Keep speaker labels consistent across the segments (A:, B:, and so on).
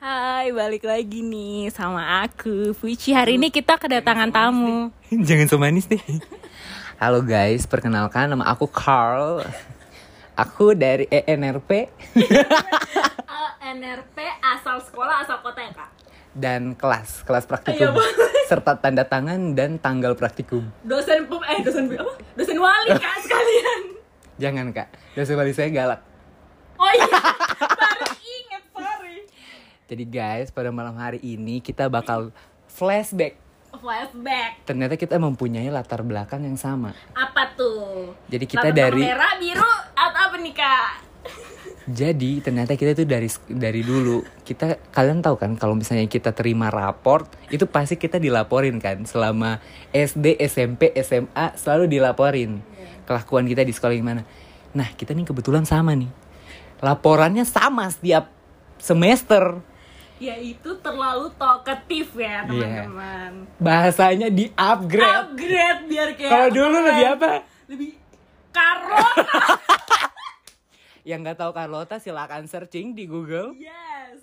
A: Hai, balik lagi nih sama aku Fuichi. Hari ini kita kedatangan tamu.
B: Jangan so manis deh.
C: Halo guys, perkenalkan nama aku Carl. Aku dari E ENRP
A: NRP asal sekolah asal kota ya kak.
C: dan kelas kelas praktikum serta tanda tangan dan tanggal praktikum.
A: Dosen pem eh dosen apa? Dosen wali kak sekalian.
C: Jangan kak, dosen wali saya galak.
A: Oh iya, baru inget sorry.
C: Jadi guys, pada malam hari ini kita bakal flashback.
A: Flashback
C: Ternyata kita mempunyai latar belakang yang sama.
A: apa tuh?
C: Jadi kita
A: Latar
C: dari-
A: merah biru atau apa nih kak?
C: Jadi ternyata kita tuh dari dari dulu kita kalian tahu kan kalau misalnya kita terima raport itu pasti kita dilaporin kan selama SD SMP SMA selalu dilaporin kelakuan kita di sekolah gimana. Nah kita nih kebetulan sama nih laporannya sama setiap semester
A: Ya itu terlalu talkative ya teman-teman.
C: bahasanya di
A: ya.
C: upgrade.
A: Upgrade biar kayak.
C: Kalau dulu lebih apa?
A: Lebih karot.
C: Yang nggak tahu Carlota silakan searching di Google.
A: yes.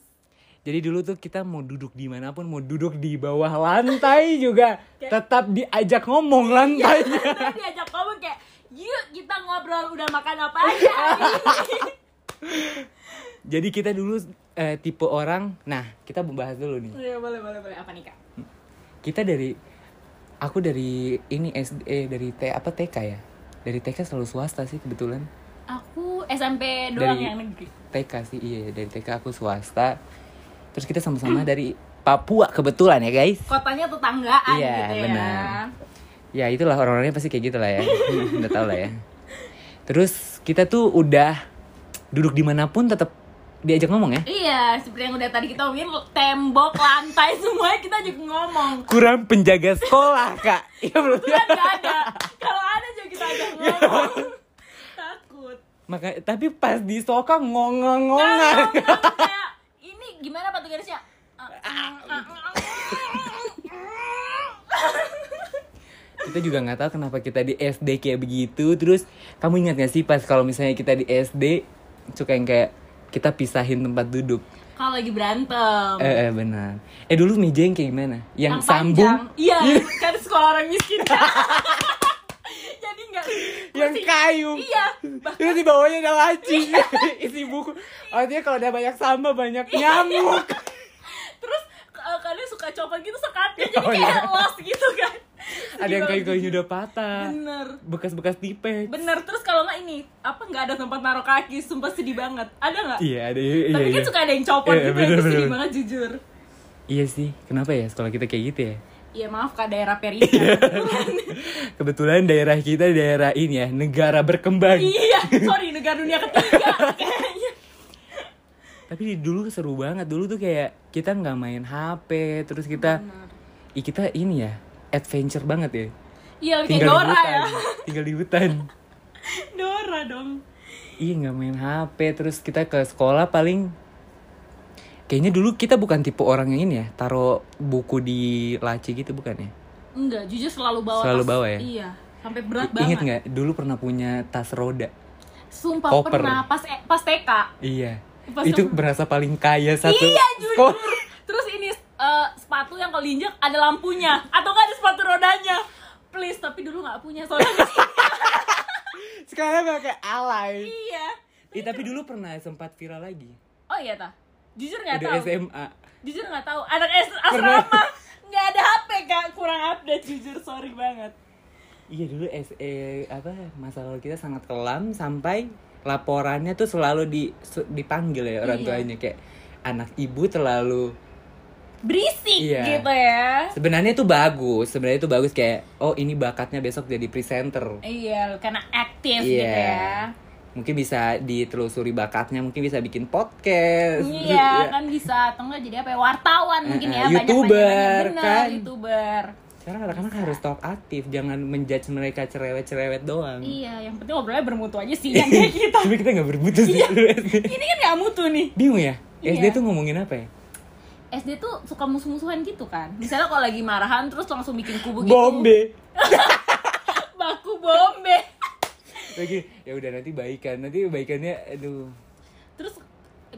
C: Jadi dulu tuh kita mau duduk dimanapun, mau duduk di bawah lantai juga, tetap diajak ngomong lantainya.
A: Terus diajak ngomong kayak yuk kita ngobrol udah makan apa aja hari ini."
C: Jadi kita dulu eh, tipe orang, nah kita membahas dulu nih.
A: Iya boleh boleh boleh apa nih kak?
C: Kita dari, aku dari ini SD, eh, dari T apa TK ya? Dari TK selalu swasta sih kebetulan.
A: Aku SMP doang
C: Dari-
A: yang negeri.
C: TK sih iya dari TK aku swasta. Terus kita sama-sama dari Papua kebetulan ya guys.
A: Kotanya tetanggaan
C: Iya,
A: gitu ya.
C: benar. Ya itulah orang-orangnya pasti kayak gitu lah ya Udah tau lah ya Terus kita tuh udah duduk dimanapun tetap diajak ngomong ya
A: Iya, seperti yang udah tadi kita omongin tembok, lantai semua kita juga ngomong.
C: Kurang penjaga sekolah kak Iya belum ya?
A: Kan gak ada. Kalau ada juga kita ajak
C: Iya.
A: ngomong. Takut.
C: Maka, Tapi pas di soka ngongong-ngongan
A: Ngomong kayak, ini gimana Pak tugasnya?
C: Kita juga nggak tahu kenapa kita di SD kayak begitu Terus kamu ingat gak sih pas kalau misalnya kita di SD Suka yang kayak kita pisahin tempat duduk
A: Kalau lagi berantem.
C: Eh, eh benar Eh dulu meja yang kayak gimana? Yang,
A: panjang.
C: sambung
A: iya kan sekolah orang miskin jadi nggak
C: yang
A: kursi-
C: kayu
A: iya
C: itu di bawahnya ada laci isi buku artinya kalau ada banyak sama banyak
A: Iya.
C: nyamuk
A: terus eh, kalian suka copot gitu sekatnya jadi
C: Oh,
A: kayak
C: iya.
A: lost gitu kan
C: ada yang gitu kayu kayunya udah patah
A: Iya. bener
C: bekas-bekas tipe
A: bener terus kalau nggak ini apa nggak ada tempat naruh kaki sumpah sedih banget ada nggak
C: iya ada iya,
A: tapi
C: iya.
A: kan suka ada yang copot gitu ya,
C: Iya,
A: itu
C: bener,
A: sedih
C: bener.
A: banget jujur
C: iya sih kenapa ya sekolah kita kayak gitu ya
A: Iya maaf kak daerah perifer
C: Iya. kebetulan daerah kita daerah ini ya negara berkembang
A: Iya sorry negara dunia ketiga Iya, kayaknya
C: tapi di- dulu seru banget dulu tuh kayak kita nggak main HP terus kita Ih, kita ini ya adventure banget ya
A: Iya kayak
C: tinggal di
A: Dora
C: hutan
A: ya
C: tinggal di hutan
A: Dora dong
C: Iya nggak main HP terus kita ke sekolah paling kayaknya dulu kita bukan tipe orang yang ini ya taruh buku di laci gitu bukan ya
A: Enggak, jujur selalu bawa
C: Selalu
A: tas.
C: bawa ya?
A: Iya, sampai berat
C: inget
A: banget.
C: nggak dulu pernah punya tas roda
A: Sumpah
C: Koper.
A: pernah pas eh, pas TK.
C: iya
A: Pas
C: itu
A: kamu-
C: berasa paling kaya satu
A: Iya, jujur.
C: sekolah.
A: Terus ini eh, sepatu yang kalau diinjak ada lampunya atau enggak ada sepatu rodanya. Please, tapi dulu nggak punya soalnya nggak-
C: sekarang pakai alay
A: iya.
C: Ih, tapi dulu pernah sempat viral lagi
A: Oh iya tah. Jujur nggak
C: udah
A: tahu.
C: SMA
A: Jujur nggak tahu. Anak S asrama nggak ada HP kak, kurang update jujur, sorry banget.
C: iya dulu SE apa masa lalu kita sangat kelam sampai laporannya tuh selalu di su- dipanggil ya orang
A: Iya.
C: tuanya kayak anak ibu terlalu
A: Berisik
C: Iya.
A: gitu ya.
C: Sebenarnya itu bagus, sebenarnya itu bagus kayak oh ini bakatnya besok jadi presenter.
A: Iya, karena aktif gitu
C: Iya.
A: ya.
C: Mungkin bisa ditelusuri bakatnya, mungkin bisa bikin podcast.
A: Iya kan bisa atau enggak jadi apa ya wartawan mungkin ya
C: Eh, eh, YouTuber,
A: banyak
C: kan?
A: youtuber
C: Sekarang anak-anak harus top aktif, jangan menjudge mereka cerewet-cerewet doang.
A: iya yang penting obrolnya bermutu aja sih kan kayak kita
C: Tapi kita nggak berbutuh sih dulu SD.
A: ini kan nggak mutu nih
C: Bingung ya?
A: Iya.
C: SD tuh ngomongin apa ya?
A: SD tuh suka musuh-musuhan gitu kan misalnya kalau lagi marahan terus langsung bikin kubu gitu
C: Bombe.
A: baku bombe
C: Lagi ya udah nanti baikan, nanti baikannya aduh.
A: terus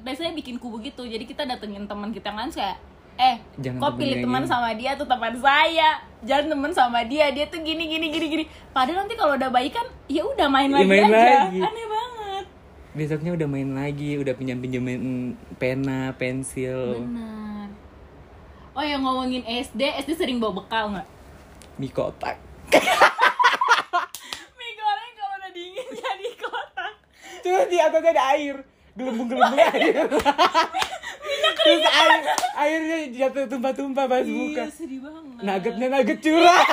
A: biasanya bikin kubu gitu jadi kita datengin teman kita kan kayak eh
C: Jangan
A: kok
C: temen
A: pilih
C: yang
A: teman
C: ini."
A: sama dia tuh teman saya jangan teman sama dia dia tuh gini gini gini gini padahal nanti kalau udah baik kan ya udah main
C: Ya,
A: lagi
C: main
A: aja
C: lagi.
A: aneh banget
C: Besoknya udah main lagi, udah pinjam-pinjamin pena,
A: Hmm.
C: pensil,
A: benar oh ya ngomongin SD SD sering bawa bekal nggak
C: mie kotak.
A: mie goreng kalau udah dingin jadi kotak
C: Terus di atasnya ada air, gelembung-gelembung air. Terus air, airnya jatuh tumpah-tumpah pas
A: iya
C: buka.
A: sedih banget
C: Nuggetnya nugget curah.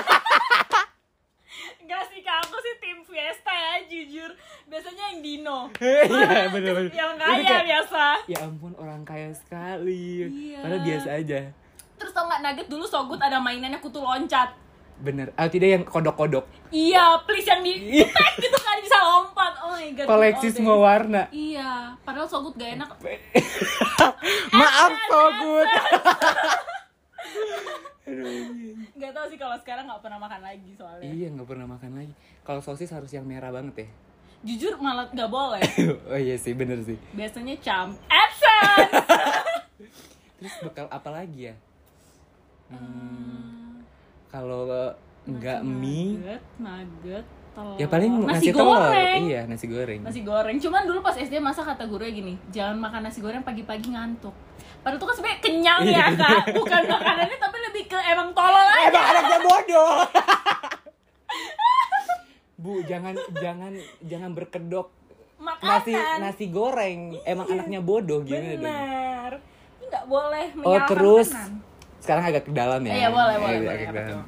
A: Gak sih kak, aku sih tim Fiesta ya, jujur Biasanya yang Dino
C: Iya, bener-bener.
A: Yang
C: Itu
A: kaya
C: kayak,
A: biasa
C: Ya ampun orang kaya sekali.
A: Iya.
C: Padahal biasa aja.
A: Terus tau gak nugget dulu Sogut ada mainannya kutu loncat
C: Bener. Ah tidak yang kodok-kodok.
A: Iya, please yang di tek gitu kan bisa lompat Oh my god
C: Koleksi
A: good old
C: semua
A: days.
C: warna.
A: Iya, padahal Sogut gak enak
C: Maaf Sogut.
A: Gak tau sih kalau sekarang gak pernah makan lagi soalnya
C: iya nggak pernah makan lagi. Kalau sosis harus yang merah banget ya.
A: Jujur malah gak boleh
C: oh iya sih bener sih.
A: Biasanya cam Absence
C: Terus bekal apa lagi ya? Kalau nggak mie,
A: Nugget, nugget, telur
C: ya paling
A: Nasi
C: nasi, telur.
A: goreng
C: Iya nasi goreng.
A: nasi goreng cuman dulu pas SD masa kata gurunya gini jangan makan nasi goreng pagi-pagi ngantuk padahal tuh kan sebenarnya kenyang
C: Iya.
A: ya kak bukan makanannya tapi lebih ke emang tolol aja
C: Emang Eh, anaknya bodoh. Bu, jangan jangan jangan berkedok
A: makanan Iya.
C: nasi Iya, nasi goreng. Emang anaknya bodoh gimana dong?
A: bener Ini nggak boleh
C: Oh
A: menyalahkan
C: terus
A: makanan.
C: sekarang agak ke dalam ya?
A: Iya, boleh, boleh,
C: agak
A: boleh,
C: ke
A: apa
C: dalam.
A: tuh?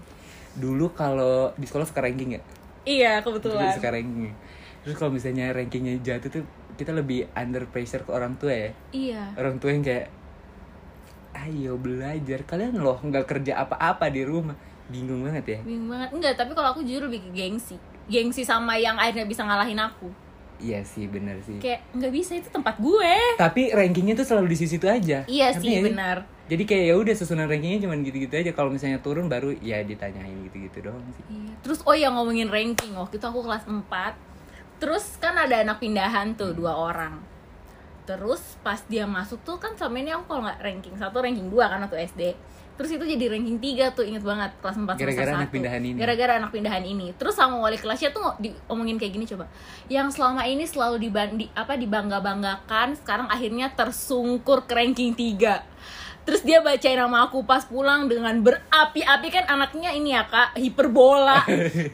C: Dulu kalau di sekolah suka ranking ya?
A: iya
C: Dulu
A: kebetulan
C: suka ranking. Terus kalau misalnya rankingnya jatuh tuh kita lebih under pressure ke orang tua ya.
A: iya
C: Orang tua yang kayak ayo belajar kalian loh nggak kerja apa-apa di rumah bingung banget ya
A: bingung banget enggak tapi kalau aku jujur lebih ke gengsi gengsi sama yang akhirnya bisa ngalahin aku
C: iya sih bener sih
A: kayak nggak bisa itu tempat gue
C: tapi rankingnya tuh selalu di situ aja
A: iya
C: Ngerti
A: sih
C: nggak
A: benar
C: jadi kayak ya udah susunan rankingnya cuman gitu-gitu aja kalau misalnya turun baru ya ditanyain gitu-gitu doang sih
A: Iya. Terus oh ya ngomongin ranking waktu itu aku kelas 4 Terus kan ada anak pindahan tuh dua orang. Terus pas dia masuk tuh kan selama ini aku kalau nggak ranking satu ranking dua kan waktu SD. Terus itu jadi ranking 3 tuh inget banget kelas 4
C: Gara-gara anak pindahan ini.
A: Gara-gara anak pindahan ini. Terus sama wali kelasnya tuh ngo- di- omongin kayak gini coba. Yang selama ini selalu diban- di, apa dibangga-banggakan sekarang akhirnya tersungkur ke ranking 3. Terus dia bacain nama aku pas pulang dengan berapi-api kan anaknya ini ya kak hiperbola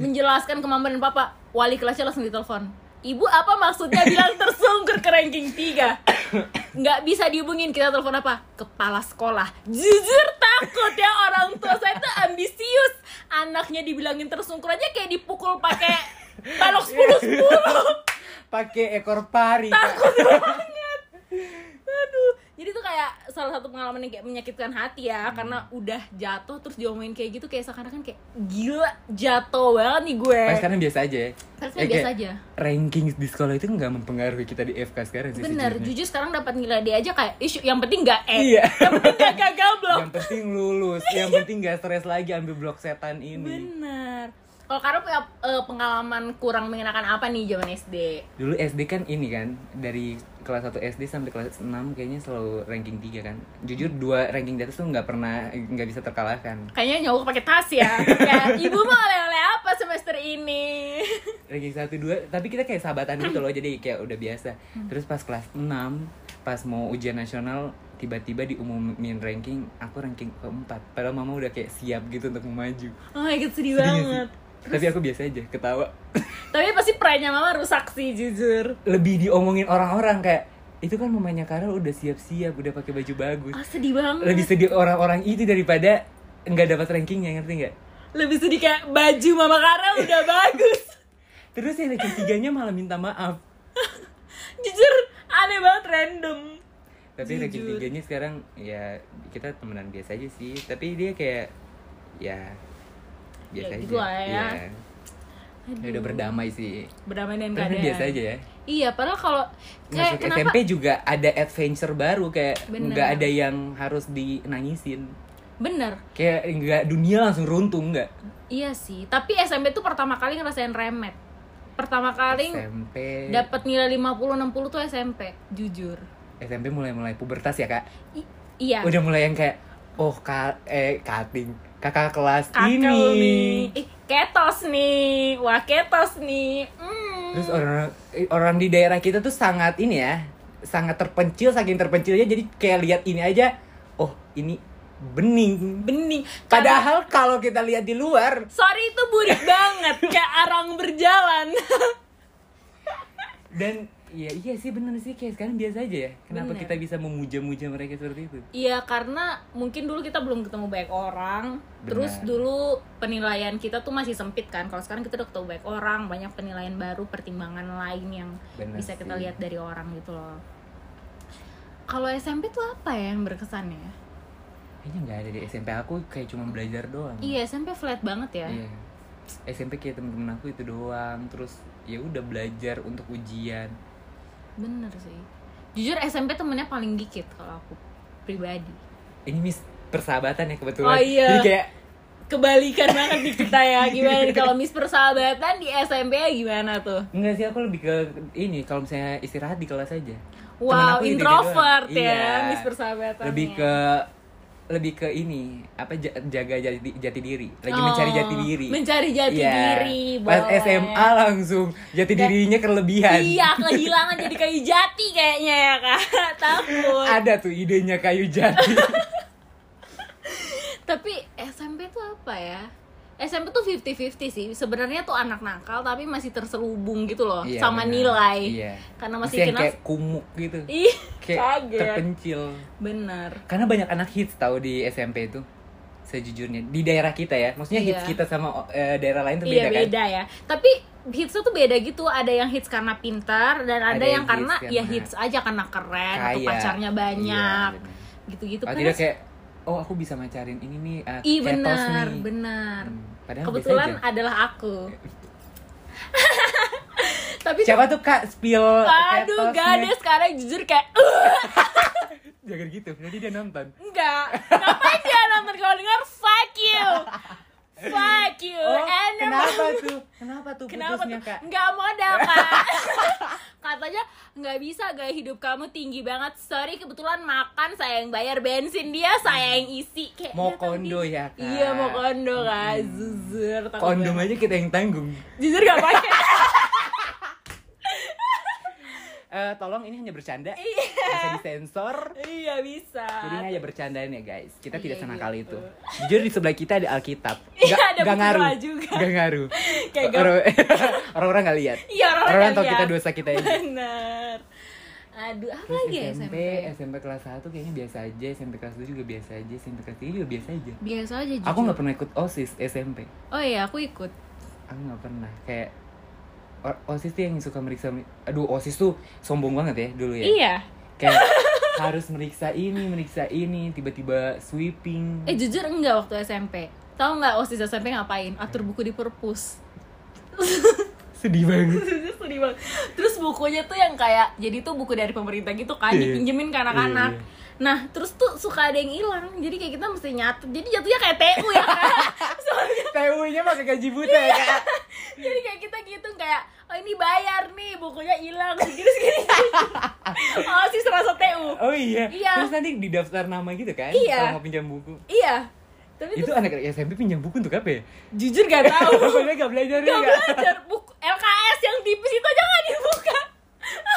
A: menjelaskan kemampuan papa wali kelasnya langsung ditelepon ibu apa maksudnya bilang tersungkur ke ranking 3 nggak bisa dihubungin kita telepon apa kepala sekolah jujur takut ya orang tua saya tuh ambisius anaknya dibilangin tersungkur aja kayak dipukul pakai balok 10-10
C: pakai ekor pari
A: takut banget aduh jadi tuh kayak salah satu pengalaman yang kayak menyakitkan hati ya karena udah jatuh terus diomongin kayak gitu kayak seakan-akan kayak gila jatuh banget nih gue
C: Pas sekarang biasa aja ya
A: Pas
C: Ya,
A: sekarang biasa
C: kayak
A: aja.
C: ranking di sekolah itu nggak mempengaruhi kita di FK sekarang sih
A: bener
C: sejujurnya.
A: jujur sekarang dapat nilai dia aja kayak isu yang penting nggak eh
C: Iya.
A: yang penting nggak gagal blok
C: yang penting lulus yang penting nggak stres lagi ambil blok setan ini
A: Iya. bener kalau karena punya eh, pengalaman kurang mengenakan apa nih zaman SD
C: dulu SD kan ini kan dari kelas 1 SD sampai kelas 6 kayaknya selalu ranking 3 kan jujur dua ranking di atas tuh nggak pernah nggak bisa terkalahkan
A: kayaknya nyawa pakai tas ya kayak ibu mau oleh-oleh apa semester ini
C: ranking satu dua tapi kita kayak sahabatan gitu loh jadi kayak udah biasa terus pas kelas 6 pas mau ujian nasional tiba-tiba diumumin ranking aku ranking keempat padahal mama udah kayak siap gitu untuk memaju
A: oh my god sedih banget
C: tapi aku biasa aja ketawa
A: Tapi pasti pride-nya mama rusak sih jujur.
C: lebih diomongin orang-orang kayak itu kan mamanya Karel udah siap-siap udah pakai baju bagus
A: Ah sedih banget.
C: lebih sedih orang-orang itu daripada nggak dapat rankingnya ngerti nggak
A: Lebih sedih kayak baju mama Karel udah bagus.
C: terus yang ranking tiganya malah minta maaf
A: Jujur aneh banget random.
C: tapi ranking
A: Jujur.
C: tiganya sekarang ya kita temenan biasa aja sih tapi dia kayak ya
A: Ya
C: biasa aja
A: gitu lah ya.
C: Iya. Ya udah berdamai sih
A: Berdamai dengan
C: tapi
A: keadaan.
C: biasa aja ya
A: Iya, padahal kalau kayak Eh,
C: Masuk
A: kenapa
C: SMP juga ada adventure baru kayak
A: Bener.
C: nggak ada yang harus dinangisin
A: bener.
C: kayak nggak dunia langsung runtuh nggak
A: Iya sih, tapi SMP tuh pertama kali ngerasain remet. Pertama kali
C: SMP
A: dapat nilai 50 60 tuh SMP, jujur.
C: SMP mulai-mulai pubertas ya kak
A: I- iya
C: udah mulai yang kayak oh kak eh kating kakak kelas
A: kakel
C: ini
A: nih Ih, ketos nih wah ketos nih Hmm.
C: terus orang orang di daerah kita tuh sangat ini ya sangat terpencil saking terpencilnya jadi kayak lihat ini aja oh ini bening
A: bening Karena-
C: padahal kalau kita lihat di luar
A: sorry itu burik banget kayak arang berjalan
C: dan ya iya sih bener sih kayak sekarang biasa aja ya kenapa
A: Bener.
C: kita bisa memuja-muja mereka seperti itu
A: Iya karena mungkin dulu kita belum ketemu banyak orang Terus
C: Benar.
A: dulu penilaian kita tuh masih sempit kan Kalau sekarang kita udah ketemu banyak orang Banyak penilaian baru, pertimbangan lain yang
C: Benar
A: bisa kita
C: sih.
A: lihat dari orang gitu loh Kalau SMP tuh apa ya yang berkesan ya?
C: kayaknya nggak ada di SMP aku kayak cuma belajar doang
A: Iya SMP flat banget ya
C: Iya. SMP kayak temen-temen aku itu doang terus ya udah belajar untuk ujian
A: Bener sih Jujur SMP temennya paling dikit kalau aku pribadi
C: ini mis persahabatan ya
A: Oh,
C: kebetulan
A: iya.
C: jadi kayak
A: Kebalikan banget di kita ya Gimana nih kalau miss persahabatan di SMP ya gimana tuh?
C: Enggak sih aku lebih ke ini kalau misalnya istirahat di kelas aja. Temen
A: Wow,
C: aku itu
A: introvert
C: dia
A: ya,
C: doang.
A: miss persahabatannya.
C: Iya. Lebih ke lebih ke ini apa ja- jaga jati, jati diri lagi
A: Oh,
C: mencari jati diri
A: mencari jati
C: Iya.
A: diri,
C: pas
A: boleh.
C: SMA langsung jati dirinya kelebihan
A: Iya, kehilangan jadi kayu jati kayaknya ya kak. Takut.
C: ada tuh idenya kayu jati
A: Tapi SMP tuh apa ya? SMP tuh 50-50 sih. Sebenarnya tuh anak nakal tapi masih terselubung gitu loh
C: Iya,
A: sama
C: benar.
A: nilai.
C: Iya.
A: Karena
C: Terus
A: masih
C: yang
A: kenal.
C: kayak kumuk gitu
A: Ih,
C: kayak
A: kaget.
C: terpencil
A: Bener.
C: karena banyak anak hits tahu di SMP itu sejujurnya di daerah kita ya maksudnya hits
A: Iya.
C: kita sama eh, daerah lain tuh
A: iya
C: beda kan
A: beda ya. Tapi hitsnya tuh beda gitu. Ada yang hits karena pintar dan ada,
C: Ada
A: yang,
C: yang
A: karena
C: hits
A: ya
C: karena
A: hits aja karena keren atau
C: Kaya.
A: pacarnya banyak.
C: Iya, benar.
A: Gitu-gitu.
C: Oh,
A: Padahal
C: tidak kayak oh aku bisa macarin ini nih
A: kan
C: uh,
A: Ih
C: ketos
A: benar,
C: nih.
A: benar.
C: Hmm, padahal
A: Kebetulan
C: biasa
A: adalah aku. Tapi
C: aja. siapa tuh kak spill
A: aduh
C: ketosnya?
A: gak ada sekarang jujur kayak "Uh, "Ugh,
C: jangan gitu nanti dia nonton
A: enggak. Ngapain dia nonton kalau dengar fuck you. Fuck you.
C: oh
A: And
C: kenapa tuh kenapa tuh
A: Eh, Kenapa
C: putusnya
A: tuh?
C: kak
A: Nggak modal, Kak. Katanya nggak bisa gaya hidup kamu tinggi banget. Sorry, kebetulan makan saya yang bayar bensin dia, saya yang isi. Kayak ya,
C: Mau
A: tapi-
C: kondo ya, Kak? Hmm.
A: Iya, mau kondo, Kak. Zuzur. takut
C: kondom
A: banget.
C: aja kita yang tanggung
A: Jujur gak pakai.
C: Eh, tolong ini hanya bercanda bisa disensor
A: iya, bisa.
C: jadi ini hanya bercandaan ya guys kita
A: Iya,
C: tidak senang
A: gitu.
C: kali itu jujur di sebelah kita ada alkitab
A: Iya, ada
C: Nggak- nggak
A: Buku Doa
C: ngaruh
A: juga.
C: nggak ngaruh
A: Kayak gak-
C: Orang- orang-orang nggak lihat
A: Iya,
C: orang-orang
A: orang-orang
C: tahu
A: kali
C: kita
A: ya.
C: dosa kita ini
A: Bener. Aduh, apa lagi ya SMP?
C: SMP, SMP kelas 1 kayaknya biasa aja, SMP kelas 2 juga biasa aja, SMP kelas 3 juga biasa aja.
A: Biasa aja jujur.
C: Aku nggak pernah ikut OSIS SMP.
A: Oh iya, aku ikut.
C: Aku nggak pernah kayak O- OSIS tuh yang suka meriksa aduh OSIS tuh sombong banget ya dulu ya.
A: Iya.
C: Kayak harus meriksa ini, meriksa ini, tiba-tiba sweeping.
A: Eh jujur enggak waktu SMP. Tahu nggak OSIS SMP ngapain? Atur buku di perpus.
C: Sedih banget.
A: Terus sedih banget. Terus bukunya tuh yang kayak jadi tuh buku dari pemerintah gitu kan
C: Iya.
A: dipinjemin ke anak-anak.
C: Iya.
A: Nah, terus tuh suka ada yang hilang. Jadi kayak kita mesti nyatu. Jadi jatuhnya kayak TU ya kan. Soalnya
C: TU-nya pakai gaji buta
A: Iya.
C: ya, Kak.
A: jadi kayak kita gitu kayak oh ini bayar nih bukunya hilang segini segini. oh sih serasa TU.
C: Oh iya.
A: Iya.
C: Terus nanti di daftar nama gitu kan,
A: Iya.
C: kalau mau pinjam buku.
A: Iya. Tapi
C: Itu anak SMP pinjam buku untuk apa ya?
A: jujur gak tahu.
C: Padahal nggak belajar ya.
A: Gak
C: juga.
A: belajar buku LKS yang tipis itu aja gak dibuka.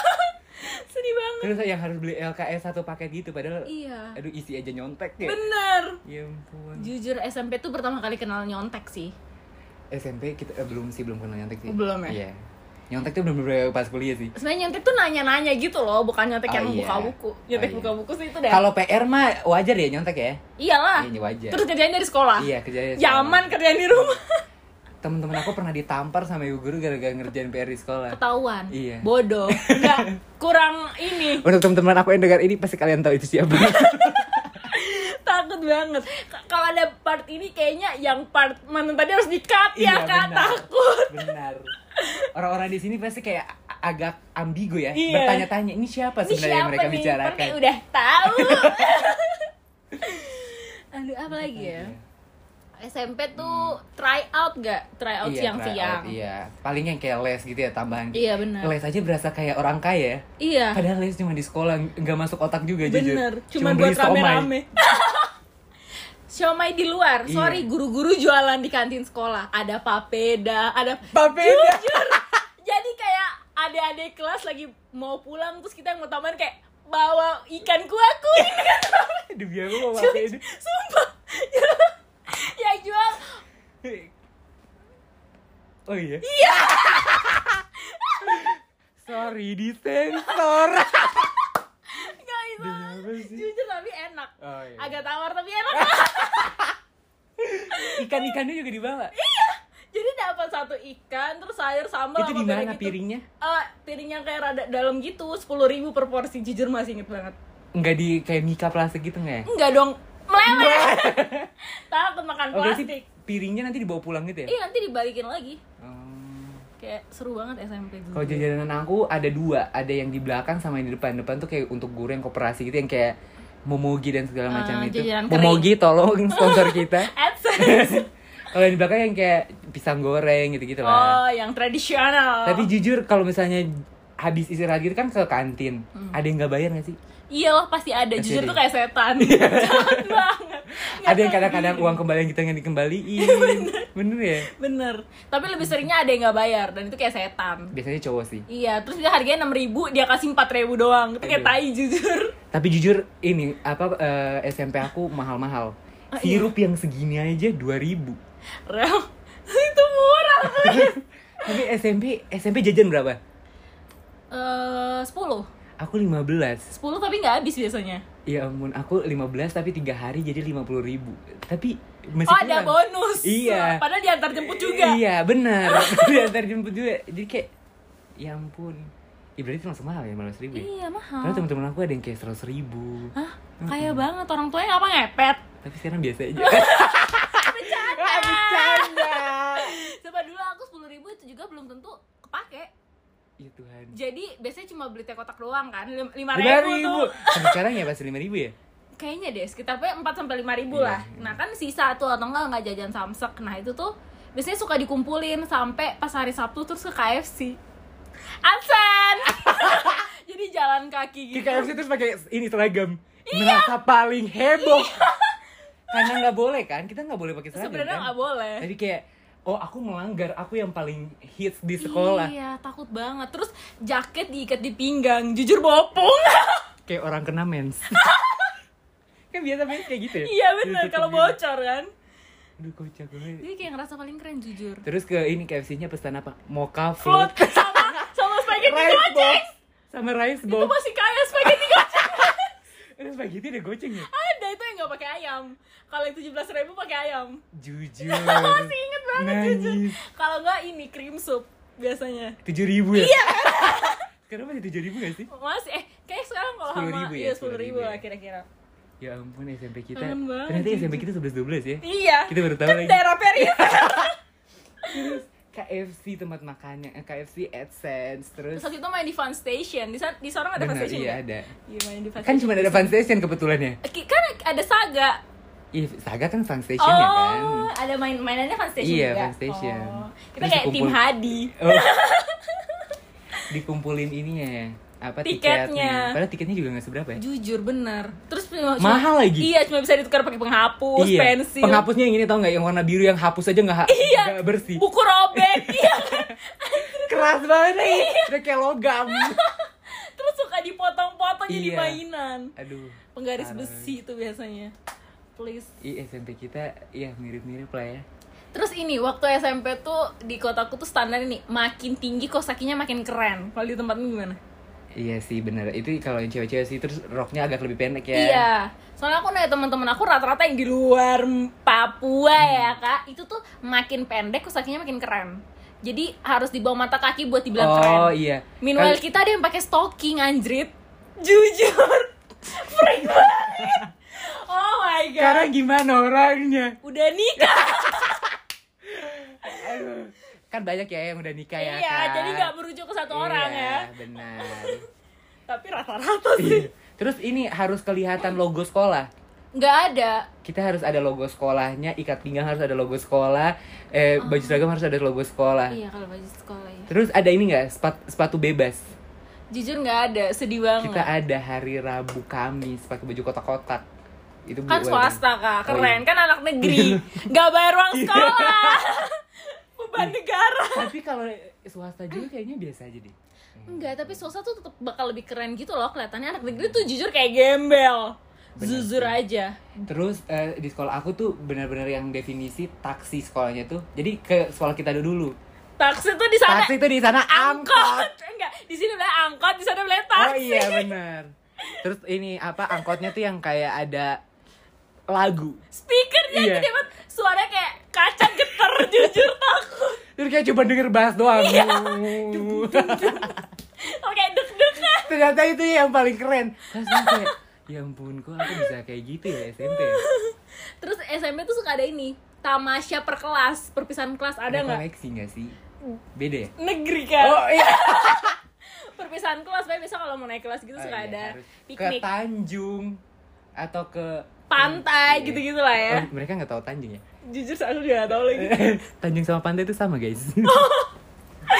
A: Sedih banget.
C: Terus yang harus beli LKS satu paket gitu padahal
A: Iya.
C: aduh isi aja nyontek ya.
A: Bener.
C: Ya ampun.
A: Jujur SMP tuh pertama kali kenal nyontek sih.
C: SMP kita eh, belum sih belum kenal nyontek sih.
A: Oh, belum ya?
C: Iya. Nyontek tuh belum bener pas kuliah sih.
A: Sebenarnya nyontek tuh nanya-nanya gitu loh, bukan nyontek
C: Oh,
A: yang
C: iya.
A: buka buku. Nyontek
C: Oh, iya.
A: buka buku sih itu deh.
C: Kalau PR mah wajar ya nyontek ya.
A: Iyalah.
C: Iya, wajar.
A: Terus kerjain dari sekolah.
C: Iya, kerjanya sama.
A: Ah, Zaman kerjain di rumah.
C: Iya. Temen-temen aku pernah ditampar sama ibu guru gara-gara ngerjain PR di sekolah.
A: Ketahuan.
C: Iya.
A: Bodoh. Enggak kurang ini.
C: Untuk teman-teman aku yang dengar ini pasti kalian tahu itu siapa.
A: takut banget K- kalau ada part ini kayaknya yang part mantan tadi harus di-cut ya
C: Iya,
A: kak
C: benar.
A: takut
C: Benar. Orang-orang di sini pasti kayak a- agak ambigu ya,
A: Iya.
C: bertanya-tanya ini siapa
A: ini
C: sebenarnya yang
A: siapa nih
C: mereka
A: kan
C: bicarakan.
A: kayak udah tahu aduh apa lagi ya SMP tuh try out gak? Try out
C: Iya,
A: siang-siang.
C: tryout, Iya, paling yang kayak les gitu ya tambahan.
A: Iya, benar.
C: Les aja berasa kayak orang kaya.
A: Iya.
C: Padahal les cuma di sekolah nggak masuk otak juga jujur.
A: Bener, cuman
C: beli
A: buat
C: siomay.
A: rame-rame. Siomay di luar,
C: Iya.
A: sorry guru-guru jualan di kantin sekolah Ada papeda, ada
C: Papeda.
A: Jujur, jadi kayak adik-adik kelas lagi mau pulang Terus kita yang mau taman kayak bawa ikan kuakuin
C: Demi aku mau pakai ini.
A: Sumpah Yang jual
C: Oh iya. Iya. Sorry disensor.
A: Gak bisa
C: Demi apa sih?
A: Jujur tapi enak
C: Oh, iya.
A: Agak tawar tapi enak
C: Ikan-ikannya juga dibawa.
A: Iya. Jadi dapat satu ikan, terus sayur sambal
C: Itu
A: apa
C: di
A: beda
C: mana
A: gitu.
C: piringnya?
A: Eh, piringnya kayak rada dalam gitu, 10.000 ribu per porsi, jujur masih inget banget.
C: Nggak di kayak mika plastik gitu nggak ya?
A: Enggak dong, meleleh. Takut makan
C: Oh, berarti
A: plastik.
C: piringnya nanti dibawa pulang gitu ya?
A: Iya nanti dibalikin lagi.
C: Oh.
A: Kayak seru banget SMP dulu.
C: Kalau jajanan aku ada dua, ada yang di belakang sama yang di depan. Depan tuh kayak untuk guru yang koperasi gitu yang kayak momogi dan segala
A: Ah,
C: macam itu.
A: jajanan kering.
C: Momogi tolong sponsor kita.
A: AdSense.
C: kalau yang di belakang yang kayak pisang goreng gitu-gitu lah.
A: oh, yang tradisional.
C: Tapi jujur kalau misalnya habis istirahat gitu kan ke kantin.
A: Hmm.
C: Ada yang nggak bayar nggak sih?
A: iyalah pasti ada.
C: Pasti
A: jujur
C: ada.
A: tuh kayak setan. Jahat banget. Nggak
C: ada yang
A: tahu
C: kadang-kadang
A: diri.
C: uang kembalian kita yang dikembaliin. Bener. ya?
A: Bener. Tapi lebih seringnya ada yang nggak bayar dan itu kayak setan.
C: Biasanya cowok sih.
A: Iya, terus dia harganya 6 ribu, dia kasih 4 ribu doang Itu kayak
C: Aduh.
A: tai jujur
C: Tapi jujur ini apa eh, SMP aku mahal-mahal.
A: Ah, iya.
C: Sirup yang segini aja 2000.
A: Rel, itu murah
C: Tapi SMP SMP jajan berapa?
A: Eh, 10
C: Aku 15
A: 10 tapi nggak habis biasanya
C: Ya ampun, aku 15 tapi tiga hari jadi 50 ribu Tapi masih
A: Oh ada
C: kurang.
A: bonus
C: Iya.
A: Padahal diantar jemput juga
C: Iya benar Diantar jemput juga Jadi kayak Ya ampun Ya berarti langsung mahal ya 15 ribu ya?
A: Iya, mahal
C: Karena temen-temen aku ada yang kayak 100 ribu
A: Hah? Kaya banget, orang tuanya apa ngepet?
C: Tapi sekarang biasa aja
A: Bercanda
C: Ah, Bercanda
A: Coba dulu aku 10 ribu itu juga belum tentu kepake
C: Ya Tuhan
A: Jadi biasanya cuma beli teh kotak doang kan 5
C: lima
A: ribu,
C: ribu
A: tuh
C: Sampai sekarang ya pasti lima ribu ya?
A: Kayaknya deh, sekitar 4 sampai 5 ribu
C: Iya,
A: lah
C: iya.
A: Nah kan sisa tuh atau enggak nggak jajan samsek Nah itu tuh biasanya suka dikumpulin sampai pas hari Sabtu terus ke KFC Absen! Jadi jalan kaki gitu
C: Ke KFC terus pakai ini seragam
A: Iya.
C: Merasa paling heboh Karena nggak boleh kan? Kita nggak boleh pakai seragam
A: Sebenarnya
C: kan?
A: nggak boleh
C: Jadi kayak oh aku melanggar, aku yang paling hits di sekolah.
A: Iya, takut banget. Terus jaket diikat di pinggang, jujur bopong.
C: Kayak orang kena mens. kan biasa mens kayak gitu ya.
A: iya benar
C: Ditutup
A: kalau
C: gitu.
A: bocor kan.
C: Aduh kocak banget.
A: Jadi kayak ngerasa paling keren jujur.
C: Terus ke ini KFC-nya pesan apa? Mocha
A: Float
C: float,
A: sama sama spaghetti
C: rice box,
A: goceng.
C: sama rice
A: Itu
C: box.
A: masih kaya spaghetti goceng.
C: Terus spaghetti ada goceng ya?
A: Ada itu yang nggak pakai ayam. Kalau itu 17.000 ribu pakai ayam.
C: Jujur.
A: Masih inget banget jujur.
C: Nangis.
A: Kalau nggak ini cream soup biasanya.
C: Tujuh ribu ya? Iya. Sekarang masih tujuh ribu gak sih?
A: Mas, eh kayak sekarang kalau sama
C: 10.000 ya,
A: iya 10.000 ribu
C: 10.000
A: lah
C: ya.
A: kira-kira.
C: Ya ampun SMP kita.
A: Kangen banget,
C: Ternyata
A: jujur.
C: SMP kita 11-12 ya?
A: Iya.
C: Kita baru tahu
A: Kan
C: lagi. Iya.
A: daerah peripheral.
C: KFC tempat makannya, eh, KFC AdSense, terus
A: Terus itu main di Fun Station. Di, sana- di Sorong ada Fun
C: Benar,
A: Station.
C: iya
A: nggak?
C: ada.
A: Iya main di Fun
C: Kan cuma ada fan station kebetulannya.
A: Ki- kan ada Saga.
C: Iya, Saga kan fan station ya kan.
A: Oh, ada main mainannya Fun Station
C: Iya,
A: juga.
C: Fun Station.
A: Oh. Kita
C: Terus
A: kayak tim
C: dikumpul-
A: Hadi.
C: Oh. Dikumpulin ininya ya. Apa tiketnya.
A: Tiketnya.
C: Padahal tiketnya juga gak seberapa ya.
A: Jujur bener. Terus cuma-
C: Mahal lagi.
A: Iya, cuma bisa ditukar pakai penghapus,
C: iya.
A: pensil.
C: Penghapusnya yang ini tau nggak yang warna biru yang hapus aja nggak ha-
A: Iya.
C: nggak bersih.
A: Buku robek. iya. kan?
C: Keras banget nih.
A: Iya.
C: Udah kayak logam.
A: Terus suka dipotong-potong jadi
C: Iya.
A: mainan.
C: Aduh.
A: Penggaris
C: Parah.
A: besi itu biasanya. Please.
C: Iya SMP kita ya mirip-mirip lah ya.
A: Terus ini waktu SMP tuh di kotaku tuh standar ini makin tinggi kosakinya makin keren. Kalau di tempatmu gimana?
C: Iya sih bener itu kalau yang cewek-cewek sih terus roknya agak lebih pendek ya.
A: Iya. Soalnya aku nanya teman-teman aku rata-rata yang di luar Papua
C: Hmm.
A: ya, Kak. Itu tuh makin pendek kosakinya makin keren. Jadi harus di bawah mata kaki buat dibilang keren.
C: Oh iya.
A: Meanwhile
C: Kal-
A: kita ada yang pakai stocking anjrit. Jujur. Freak banget. Oh my god.
C: sekarang gimana orangnya?
A: Udah nikah
C: Aduh. Kan banyak ya yang udah nikah ya.
A: ya,
C: kan?
A: jadi nggak berujung ke satu orang ya.
C: Iya, Benar.
A: Tapi rata-rata sih.
C: Iya. Terus ini harus kelihatan logo sekolah.
A: nggak ada
C: kita harus ada logo sekolahnya ikat pinggang harus ada logo sekolah eh, baju seragam harus ada logo sekolah
A: Oh. iya kalau baju sekolah ya
C: terus ada ini nggak sepatu, sepatu bebas
A: jujur nggak ada sedih banget
C: kita ada hari Rabu Kamis pakai baju kotak-kotak itu
A: kan
C: BUMN.
A: swasta kak
C: Oh, Iya.
A: keren kan anak negeri nggak bayar uang sekolah beban negara
C: tapi kalau swasta juga kayaknya biasa aja deh
A: Enggak, tapi swasta tuh tetap bakal lebih keren gitu loh kelihatannya anak negeri tuh jujur kayak gembel jujur aja
C: Terus eh, di sekolah aku tuh benar-benar yang definisi taksi sekolahnya tuh. Jadi ke sekolah kita dulu.
A: taksi tuh di sana
C: Taksi tuh di sana angkot.
A: angkot Eh, enggak di sini udah angkot di sana udah
C: Oh
A: taksi
C: iya benar. Terus ini apa angkotnya tuh yang kayak ada lagu.
A: speakernya
C: Iya.
A: gede banget suaranya kayak kaca getar jujur takut
C: Terus kayak cuma denger bass doang.
A: Oke, kayak deg-degan
C: Ternyata itu yang paling keren. Terus aku kayak ya ampun kok aku bisa kayak gitu ya SMP. ya?"
A: terus SMP tuh suka ada ini tamasya per kelas perpisahan kelas ada
C: Ada
A: nggak
C: koleksi nggak sih? Beda ya?
A: negeri kan
C: Oh iya.
A: perpisahan kelas Pokoknya biasa kalau mau naik kelas gitu
C: Oh,
A: suka
C: iya,
A: ada
C: harus.
A: piknik
C: ke Tanjung atau ke
A: pantai
C: Iya.
A: gitu-gitu lah ya
C: Oh, Iya. mereka nggak tahu Tanjung ya?
A: jujur saya juga gak tahu lagi
C: Tanjung sama pantai itu sama guys.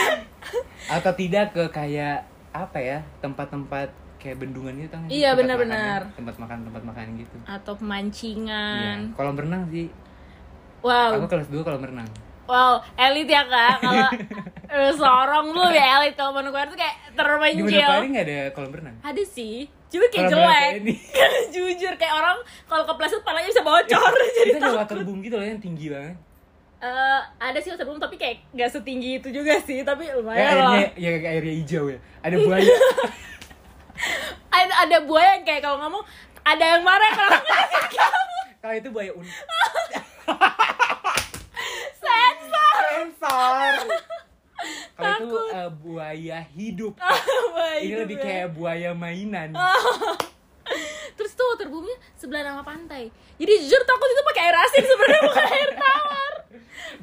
C: atau tidak ke kayak apa ya tempat-tempat kayak bendungan gitu tau nggak sih?
A: Iya,
C: Tempat
A: benar-benar.
C: makanan, tempat makan tempat makan gitu.
A: atau
C: Iya.
A: pemancingan
C: Kolam renang sih.
A: wow
C: Aku kelas 2 kolam renang.
A: wow elit ya kak kalau eh, sorong lu ya elit kalau Manokwari tuh kayak
C: Di
A: terpencil
C: Manokwari nggak ada kolam renang.
A: ada sih cuma kayak
C: Kolam renang
A: jelek
C: kayak ini.
A: karena jujur kayak orang kalau kepleset palanya bisa bocor jadi
C: Itu ada waterboom gitu loh yang tinggi banget.
A: Eh, ada sih sebelum tapi kayak gak setinggi itu juga sih tapi
C: Ya,
A: lumayan
C: airnya
A: lah
C: ya airnya hijau ya. Ada buaya.
A: ada, ada buaya yang kayak kalau ngomong ada yang marah kalau ngomong
C: Kalau itu buaya unik.
A: sensor
C: Sensor. Kalau itu
A: Takut. Oh, iya
C: eh, buaya hidup.
A: Wah,
C: Ini
A: itu
C: lebih
A: gue.
C: kayak buaya mainan.
A: Oh, terus tuh waterboomnya sebelah nama pantai jadi jujur takut itu pakai air asin sebenarnya bukan air tawar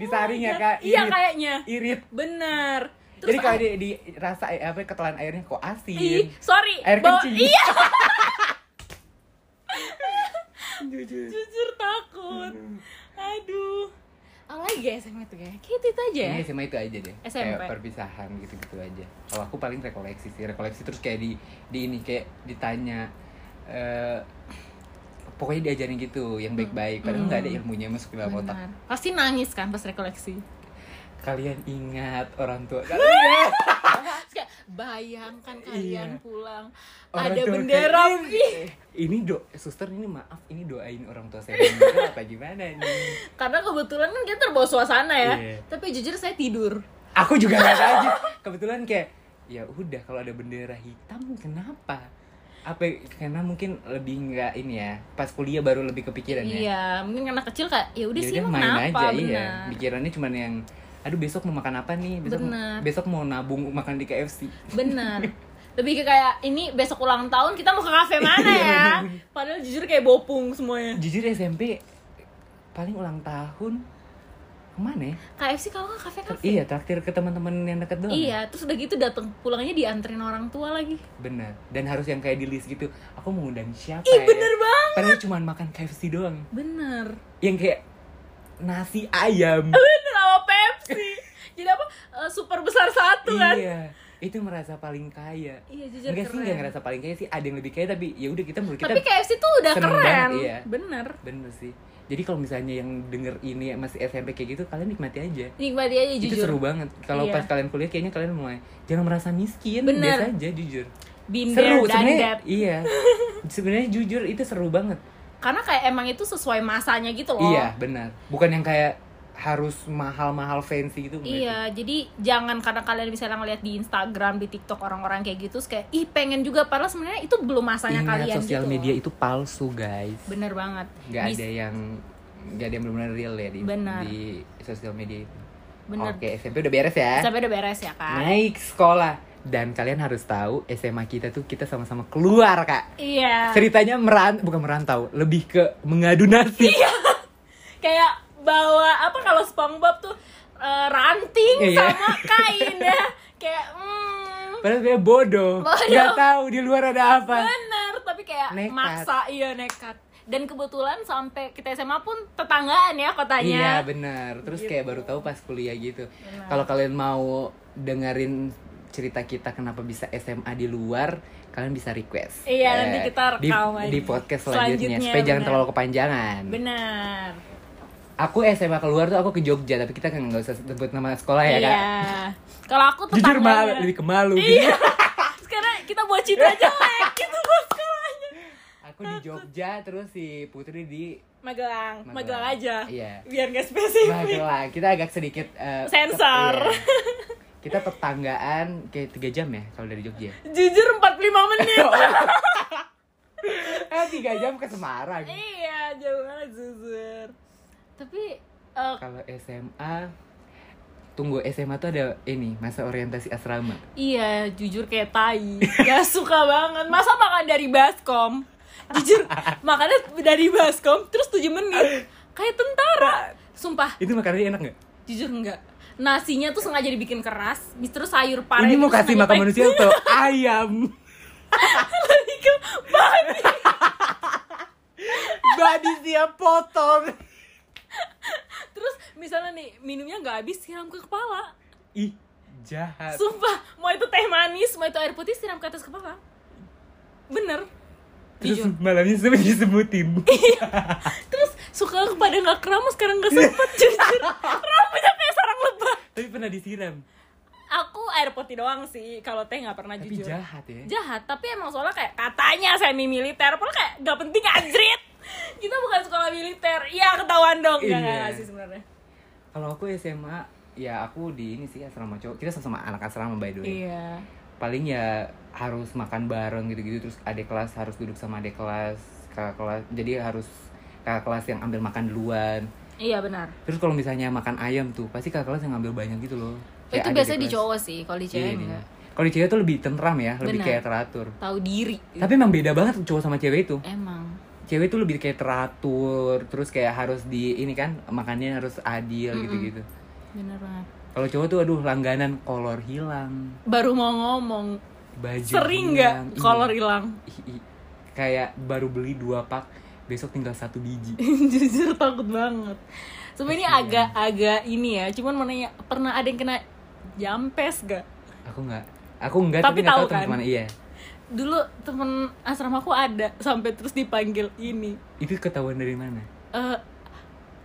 C: Disaring ya
A: Oh my
C: kak.
A: God. iya
C: Irit.
A: kayaknya
C: Irit.
A: bener ah,
C: Jadi kalau di, dirasa eh, apa ketelan airnya kok asin.
A: ih sorry
C: Air
A: bau-
C: kencing.
A: iya
C: Jujur.
A: jujur takut
C: Hmm.
A: aduh apalagi ya SMA tuh kayak kayak itu, itu aja ya
C: Ini SMA itu aja deh.
A: SMP.
C: Kayak perpisahan gitu-gitu aja. Kalau aku paling rekoleksi sih, rekoleksi terus kayak di di ini kayak ditanya eh pokoknya diajarin gitu yang baik-baik padahal nggak ada ilmunya masuk dalam otak
A: Benar. pasti nangis kan pas rekoleksi
C: kalian ingat orang tua kalian
A: Terus kayak, bayangkan kalian
C: Iya.
A: pulang
C: Orang
A: ada
C: tua
A: bendera
C: kalian.
A: Ih,
C: ini do suster ini maaf ini doain orang tua saya meninggal apa gimana nih
A: karena kebetulan kan kita terbawa suasana ya
C: Iya.
A: tapi jujur saya tidur
C: aku juga nggak tahu Ji. kebetulan kayak ya udah kalau ada bendera hitam kenapa apa karena mungkin lebih nggak ini ya pas kuliah baru lebih kepikiran ya
A: Iya, mungkin anak kecil kayak ya udah
C: Ya
A: sih
C: udah,
A: emang
C: main
A: kenapa
C: aja
A: benar.
C: iya pikirannya cuman yang aduh besok mau makan apa nih besok
A: Benar.
C: besok mau nabung makan di KFC
A: Benar. Lebih ke kayak ini besok ulang tahun kita mau ke kafe mana ya? Padahal jujur kayak bopung semuanya.
C: jujur ya, SMP paling ulang tahun kemana ya
A: KFC kalau nggak kafe kafe.
C: iya traktir ke teman-teman yang deket doang
A: Iya, terus udah gitu datang pulangnya dianterin orang tua lagi.
C: benar dan harus yang kayak di list gitu aku mau ngundang siapa
A: Ih,
C: ya
A: bener banget.
C: padahal cuman makan KFC doang
A: Bener.
C: yang kayak nasi ayam
A: Bener sama Pepsi. Jadi apa? eh, super besar satu kan?
C: iya itu merasa paling kaya
A: Iya, jujur
C: enggak sih
A: keren.
C: enggak ngerasa paling kaya sih ada yang lebih kaya tapi ya udah kita menurut kita
A: Tapi KFC tuh udah
C: seneng
A: keren.
C: banget, iya.
A: Bener.
C: bener sih jadi kalau misalnya yang denger ini masih SMP kayak gitu kalian nikmati aja
A: Nikmati aja
C: itu
A: jujur.
C: seru banget kalau
A: Iya.
C: pas kalian kuliah kayaknya kalian mulai jangan merasa miskin
A: Bener.
C: biasa aja jujur
A: Been
C: seru
A: there, done
C: sebenarnya
A: that.
C: iya sebenarnya jujur itu seru banget
A: Karena kayak emang itu sesuai masanya gitu loh.
C: iya benar bukan yang kayak harus mahal-mahal fancy gitu enggak sih.
A: Iya, jadi jangan karena kalian misalnya ngeliat di Instagram, di TikTok orang-orang kayak gitu, terus kayak ih pengen juga padahal sebenarnya itu belum masanya kalian
C: Ingat Iya, sosial
A: gitu.
C: media itu palsu guys
A: Bener banget.
C: nggak
A: Bis-
C: ada yang nggak ada yang benar-benar real ya di
A: Benar.
C: di sosial media itu.
A: Benar.
C: Oke SMP udah beres ya.
A: Sampai udah beres ya kak.
C: Naik sekolah dan kalian harus tahu SMA kita tuh kita sama-sama keluar kak.
A: Iya.
C: Ceritanya meran bukan merantau lebih ke mengadu nasib.
A: Iya. Kayak bawa apa kalau SpongeBob tuh eh, ranting
C: Iya, iya.
A: sama kain ya. Kayak hmm,
C: Padahal saya bodoh,
A: Bodoh.
C: nggak tahu di luar ada apa.
A: bener tapi kayak
C: Nekat.
A: maksa iya nekat. dan kebetulan sampai kita SMA pun tetanggaan ya
C: Iya
A: kotanya
C: benar. Terus
A: Gitu.
C: kayak baru tahu pas kuliah gitu. Kalau kalian mau dengerin cerita kita kenapa bisa SMA di luar, kalian bisa request.
A: Iya,
C: Eh,
A: nanti kita
C: di,
A: rekam aja.
C: di podcast selanjutnya.
A: Selanjutnya,
C: Supaya jangan
A: benar.
C: terlalu kepanjangan.
A: benar
C: Aku SMA keluar tuh aku ke Jogja, tapi kita kan nggak usah sebut nama sekolah ya
A: iya
C: kak.
A: kalau aku
C: Jujur malu,
A: tetangganya
C: lebih ke malu. gitu.
A: iya sekarang kita buat citra jelek gitu loh sekolahnya
C: Aku di Jogja, terus si Putri di
A: Magelang,
C: Magelang.
A: Magelang aja
C: Iya.
A: biar gak spesifik
C: Magelang. gitu Kita agak sedikit eh,
A: Sensor.
C: iya. Kita tetanggaan kayak 3 jam ya kalau dari Jogja.
A: jujur 45 menit
C: Oh, Eh 3 jam ke Semarang.
A: iya jauh banget jujur tapi eh,
C: Kalau SMA tunggu SMA tuh ada ini masa orientasi asrama.
A: Iya, jujur kayak tai. Gak suka banget. Masa makan dari baskom? Jujur, makannya dari baskom terus 7 menit. Kayak tentara. Sumpah,
C: Itu makanannya enak nggak?
A: jujur enggak. Nasinya tuh sengaja dibikin keras, bis- terus sayur pare.
C: Ini mau
A: terus
C: kasih
A: sengaja
C: makan
A: pakai-
C: manusia atau ayam?
A: Lari ke babi.
C: Badi siap potong.
A: Terus misalnya nih, minumnya nggak habis, siram ke kepala.
C: Ih, jahat.
A: Sumpah, mau itu teh manis, mau itu air putih, siram ke atas kepala. Bener.
C: Terus
A: Jujur.
C: malamnya sempat disebutin.
A: Terus suka kepada nggak keramas sekarang nggak sempet jujur. Rambutnya kayak sarang lebah.
C: Tapi pernah disiram.
A: aku air putih doang sih kalau teh nggak pernah
C: Tapi
A: jujur
C: jahat ya.
A: jahat tapi emang soalnya kayak katanya semi militer padahal kayak gak penting anjrit kita bukan sekolah militer iya ketahuan dong nggak nggak
C: Iya.
A: nggak sih sebenarnya
C: Kalau aku SMA ya aku di ini sih asrama cowok. Kita sama-sama anak asrama by the way.
A: iya
C: Paling ya harus makan bareng gitu-gitu terus adik kelas harus duduk sama adik kelas, kakak kelas. Jadi harus kakak kelas yang ambil makan duluan.
A: iya benar
C: Terus kalau misalnya makan ayam tuh pasti kakak kelas yang ngambil banyak gitu loh.
A: itu
C: Kayak ada
A: biasanya di
C: kelas.
A: cowok sih kalau di
C: Iya,
A: cewek
C: iya.
A: enggak
C: Kalau di cewek tuh lebih tentram ya, lebih
A: Benar.
C: kayak teratur.
A: tahu diri
C: Tapi emang beda banget cowok sama cewek itu.
A: emang
C: Cewek tuh lebih kayak teratur, terus kayak harus di ini kan makannya harus adil gitu-gitu.
A: bener banget
C: Kalau cowok tuh aduh langganan kolor hilang,
A: baru mau ngomong
C: baju
A: sering
C: hilang.
A: nggak
C: Iya.
A: kolor hilang
C: Ih, ih. Kayak baru beli dua pak, besok tinggal satu biji.
A: jujur takut banget sebenarnya ini agak-agak ini ya cuman mau nanya pernah ada yang kena jampes gak
C: Aku nggak, aku nggak
A: Tapi
C: tapi, nggak
A: tahu
C: tahu teman
A: kan?
C: kemana. Iya,
A: dulu temen asrama aku ada sampai terus dipanggil ini
C: itu ketahuan dari mana?
A: Eh,